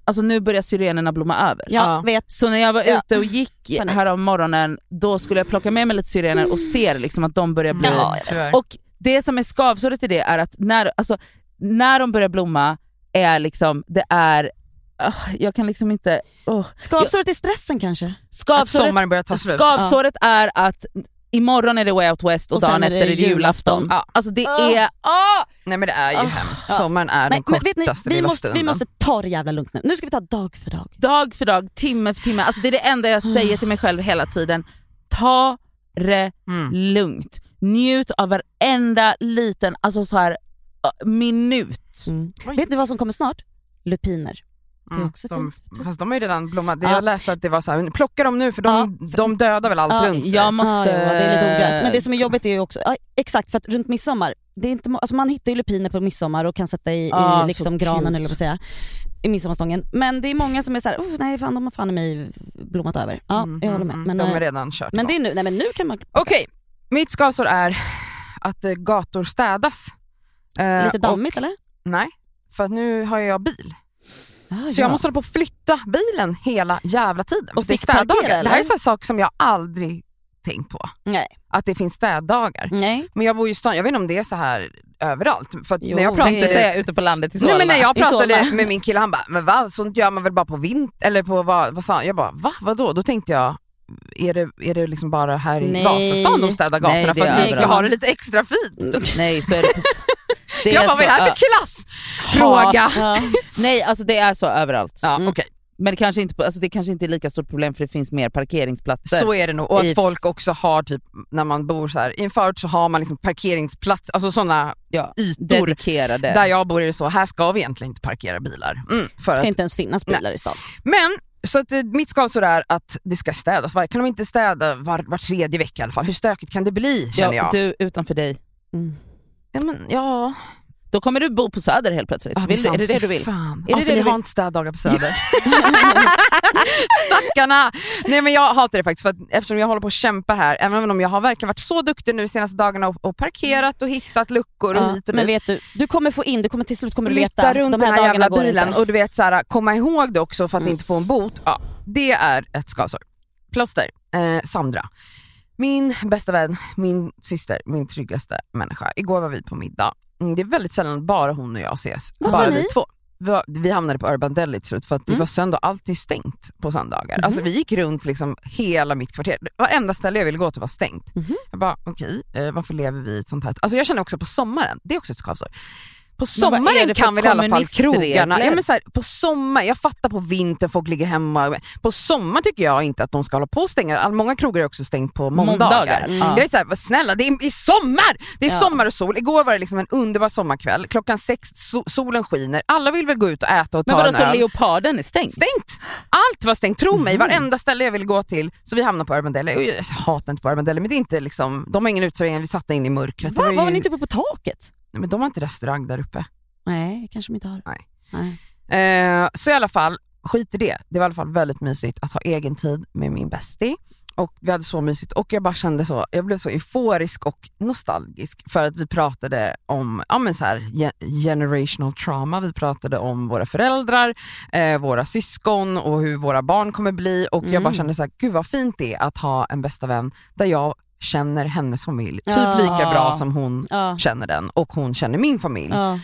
D: alltså nu börjar syrenerna blomma över.
A: Ja, vet.
D: Så när jag var
A: Ja.
D: ute och gick
A: Panik.
D: här om morgonen, då skulle jag plocka med mig lite syrener och ser liksom att de
C: Mm,
D: börjar bli...
A: Ja, jag vet.
D: och det som är skavsåret i det är att när, alltså, när de börjar blomma är liksom, det är, ah, jag kan liksom inte... Oh.
A: Skavsåret är stressen kanske?
D: Skavsåret, Skavsåret är att imorgon är det Way Out West och,
A: Och sen
D: dagen
A: är
D: efter
A: det
D: är det julafton.
A: julafton.
D: Alltså det
A: Ah.
D: är... Ah!
C: Nej men det är ju
D: Ah.
C: hemskt. Sommaren är den
A: men vet
C: kortaste
A: ni, vi,
C: lilla
A: måste, vi
C: stunden.
A: måste ta det jävla lugnt nu. Nu ska vi ta dag för dag.
D: Dag för dag, timme för timme. Alltså det är det enda jag säger till mig själv hela tiden. Ta det
C: Mm.
D: lugnt. Njut av varenda liten alltså så här, äh, minut.
A: Vet du vad som kommer snart? Lupiner. Det är
C: Mm,
A: också
C: de,
A: fint.
C: fast de har ju redan blommat.
A: Ja.
C: Jag läste att det var så här, plocka dem nu för de, de dödar väl allt
A: Ja,
C: runt sig.
A: ja, ja, Ah, det är lite ogräs. Men det som är jobbigt är ju också, ja, exakt för att runt midsommar, det är inte, må- alltså man hittar ju lupiner på midsommar och kan sätta i,
D: Ah,
A: i
D: så
A: liksom
D: cute.
A: granen eller vad jag säga, i midsommarstången. Men det är många som är såhär, "Oh, nej fan de har fan i mig blommat över. Ja, jag håller med. Men,
C: Mm, Mm-hmm. de är
A: eh,
C: redan kört.
A: men det är nu, nej men nu kan man...
C: Okej, mitt skavsår är att eh, gator städas. Eh,
A: Lite dammigt,
C: och-
A: eller?
C: Nej, för att nu har jag bil. så
A: Ah, ja.
C: jag måste hålla på och flytta bilen hela jävla tiden.
A: Och
C: för det är
A: fickparkera,
C: städdagar. Det
A: eller?
C: här är så här sak som jag aldrig tänkt på.
A: Nej. Mm.
C: Att det finns städdagar.
A: Nej.
C: Men jag bor ju i stan, jag vet inte om det är så här överallt. För att
D: Jo,
C: när jag
D: tänkte
C: pratade,
D: säga ute på landet i
C: Nej, men när
D: Solna.
C: jag
D: I Solna.
C: pratade med min kille, han bara, men va, sånt gör man väl bara på vinter? Eller på vad, vad sa han? Jag bara, va, vadå? Då tänkte jag, är det, är det liksom bara här i
D: Nej.
C: Vasastan de städar
D: Nej,
C: gatorna
D: det
C: för att
D: är
C: vi ska
D: överallt.
C: ha det lite extra fint?
D: Nej så är det
C: *laughs*
D: precis. Det
C: jag bara, vad är det här
D: så-
C: för klass? Fråga! *laughs*
D: Ja. Nej alltså det är så överallt. Mm.
C: Ja,
D: Men det kanske, inte, alltså det kanske inte är lika stort problem för det finns mer parkeringsplatser.
C: Så är det nog. Och
D: I-
C: att folk också har, typ, när man bor så här, i en förort så har man liksom parkeringsplats, alltså sådana
D: ja,
C: ytor.
D: dedikerade.
C: Där jag bor är det så, här ska vi egentligen inte parkera bilar. Mm, för
A: ska
C: att,
A: inte ens finnas bilar i stan.
C: Men så att, eh, mitt skavsår är att det ska städas. Var, kan de inte städa var, var tredje vecka i alla fall? Hur stökigt kan det bli känner
D: ja,
C: jag?
D: Du utanför dig.
C: Ja, men, ja.
D: Då kommer du bo på Söder helt plötsligt.
C: Ja, det är
D: vill, du- är
C: sant.
D: det det
C: Fy
D: du vill?
C: fan.
D: Är
C: Ja,
D: det
C: för
D: det
C: ni
D: du
C: har
D: vill?
C: inte städdagar på
D: *laughs*
C: Söder. Stackarna! Nej men jag hatar det faktiskt för att eftersom jag håller på och kämpar här, även om jag har verkligen varit så duktig nu senaste dagarna och, och parkerat och hittat luckor och
A: Ja,
C: hit och
A: men
C: dit.
A: vet du, du kommer få in, du kommer till slut kommer du
C: Flytta
A: veta.
C: runt
A: de här,
C: den här
A: dagarna
C: jävla
A: går
C: bilen
A: inte. Mm.
C: och du vet så här, komma ihåg det också för att inte få en bot. Ja, det är ett skavsår. Plåster. Eh, Sandra. Min bästa vän, min syster, min tryggaste människa. Igår var vi på middag. Mm, Det är väldigt sällan bara hon och jag ses.
A: Vart
C: bara
A: var ni? Mm.
C: vi två. Vi, var, vi hamnade på Urban Deli till slut för att det var söndag och allt är stängt på söndagar.
A: Mhm.
C: Alltså vi gick runt liksom hela mitt kvarter. Varenda ställe jag ville gå till var stängt. Jag bara okej, eh, varför lever vi i ett sånt här... Alltså jag känner också på sommaren, det är också ett skavsår. På
D: Men vad är
C: sommaren
D: det för
C: kan väl i alla fall krogarna...
D: kommunistregler?
C: Ja, men så här, på sommar, jag fattar på vintern, folk ligger hemma. På sommar tycker jag inte att de ska hålla på och stänga. All- Många krogar är också stängt på måndagar.
D: Måndagar, mm.
C: Jag är så här, vad snälla det är i sommar! Det är
D: Ja.
C: sommar och sol. Igår var det liksom en underbar sommarkväll. Klockan sex, so- solen skiner. Alla vill väl gå ut och äta och ta
D: Men vadå
C: en
D: så
C: öl.
D: leoparden är stängd?
C: Stängt! Allt var stängt, tro
A: Mhm.
C: mig. Varenda ställe jag ville gå till. Så vi hamnade på Urban Deli. Och Jag hatar inte på Urban Deli men det är inte liksom, de har ingen uteservering. Vi satt inne i mörkret. Det
A: Va,
C: ju-
A: var ni inte uppe på taket?
C: Nej, men de har inte restaurang där uppe.
A: Nej, kanske de inte har.
C: Nej.
A: Nej.
C: Eh, så i alla fall, skit i det. Det var i alla fall väldigt mysigt att ha egen tid med min bästie. Och vi hade så mysigt och jag bara kände så, jag blev så euforisk och nostalgisk för att vi pratade om ja men så här, ge- generational trauma. Vi pratade om våra föräldrar, eh, våra syskon och hur våra barn kommer bli. Och jag bara
D: Mm.
C: kände så här, gud vad fint det är att ha en bästa vän där jag känner hennes familj typ
D: Ja.
C: lika bra som hon
A: Ja.
C: känner den och hon känner min familj
A: Ja.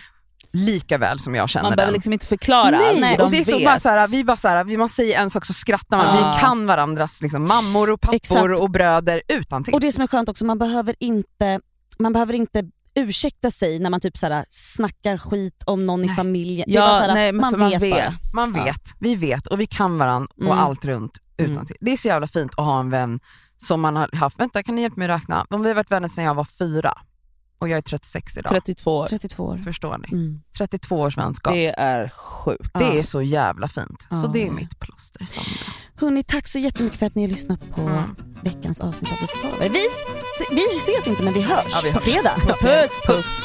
C: lika väl som jag känner
D: Mm. Man
C: den.
D: behöver liksom inte förklara.
C: Nej,
D: Nej,
C: och
D: de
C: det är så
D: vet.
C: bara så här, vi bara så här, vi man säger en sak så skrattar man.
D: Ja.
C: Vi kan varandras liksom, mammor och pappor
A: Exakt.
C: och bröder utan till.
A: Och det som är skönt också, man behöver inte, man behöver inte ursäkta sig när man typ såhär, snackar skit om någon i familjen. Det är
D: Ja,
A: bara såhär,
D: nej, men
A: man,
D: för man
A: vet bara.
D: vet.
C: Man vet, vi vet och vi kan varandra och
A: Mm.
C: allt runt utan till. Det är så jävla fint att ha en vän som man har haft, vänta kan ni hjälpa mig räkna? Om vi har varit vänner sedan jag var fyra och jag är 36 idag.
D: 32 år.
A: 32 år.
C: Förstår ni?
A: Mm.
C: 32 års vänskap.
D: Det är sjukt.
C: Det
A: Ja.
C: är så jävla fint. Så
A: Ja.
C: det är mitt plåster. Sandra.
A: Hörni, tack så jättemycket för att ni har lyssnat på veckans avsnitt av Discover. Vi, s- vi ses inte men vi hörs,
C: Ja, vi
A: på
C: hörs.
A: fredag.
D: Puss.
C: Puss.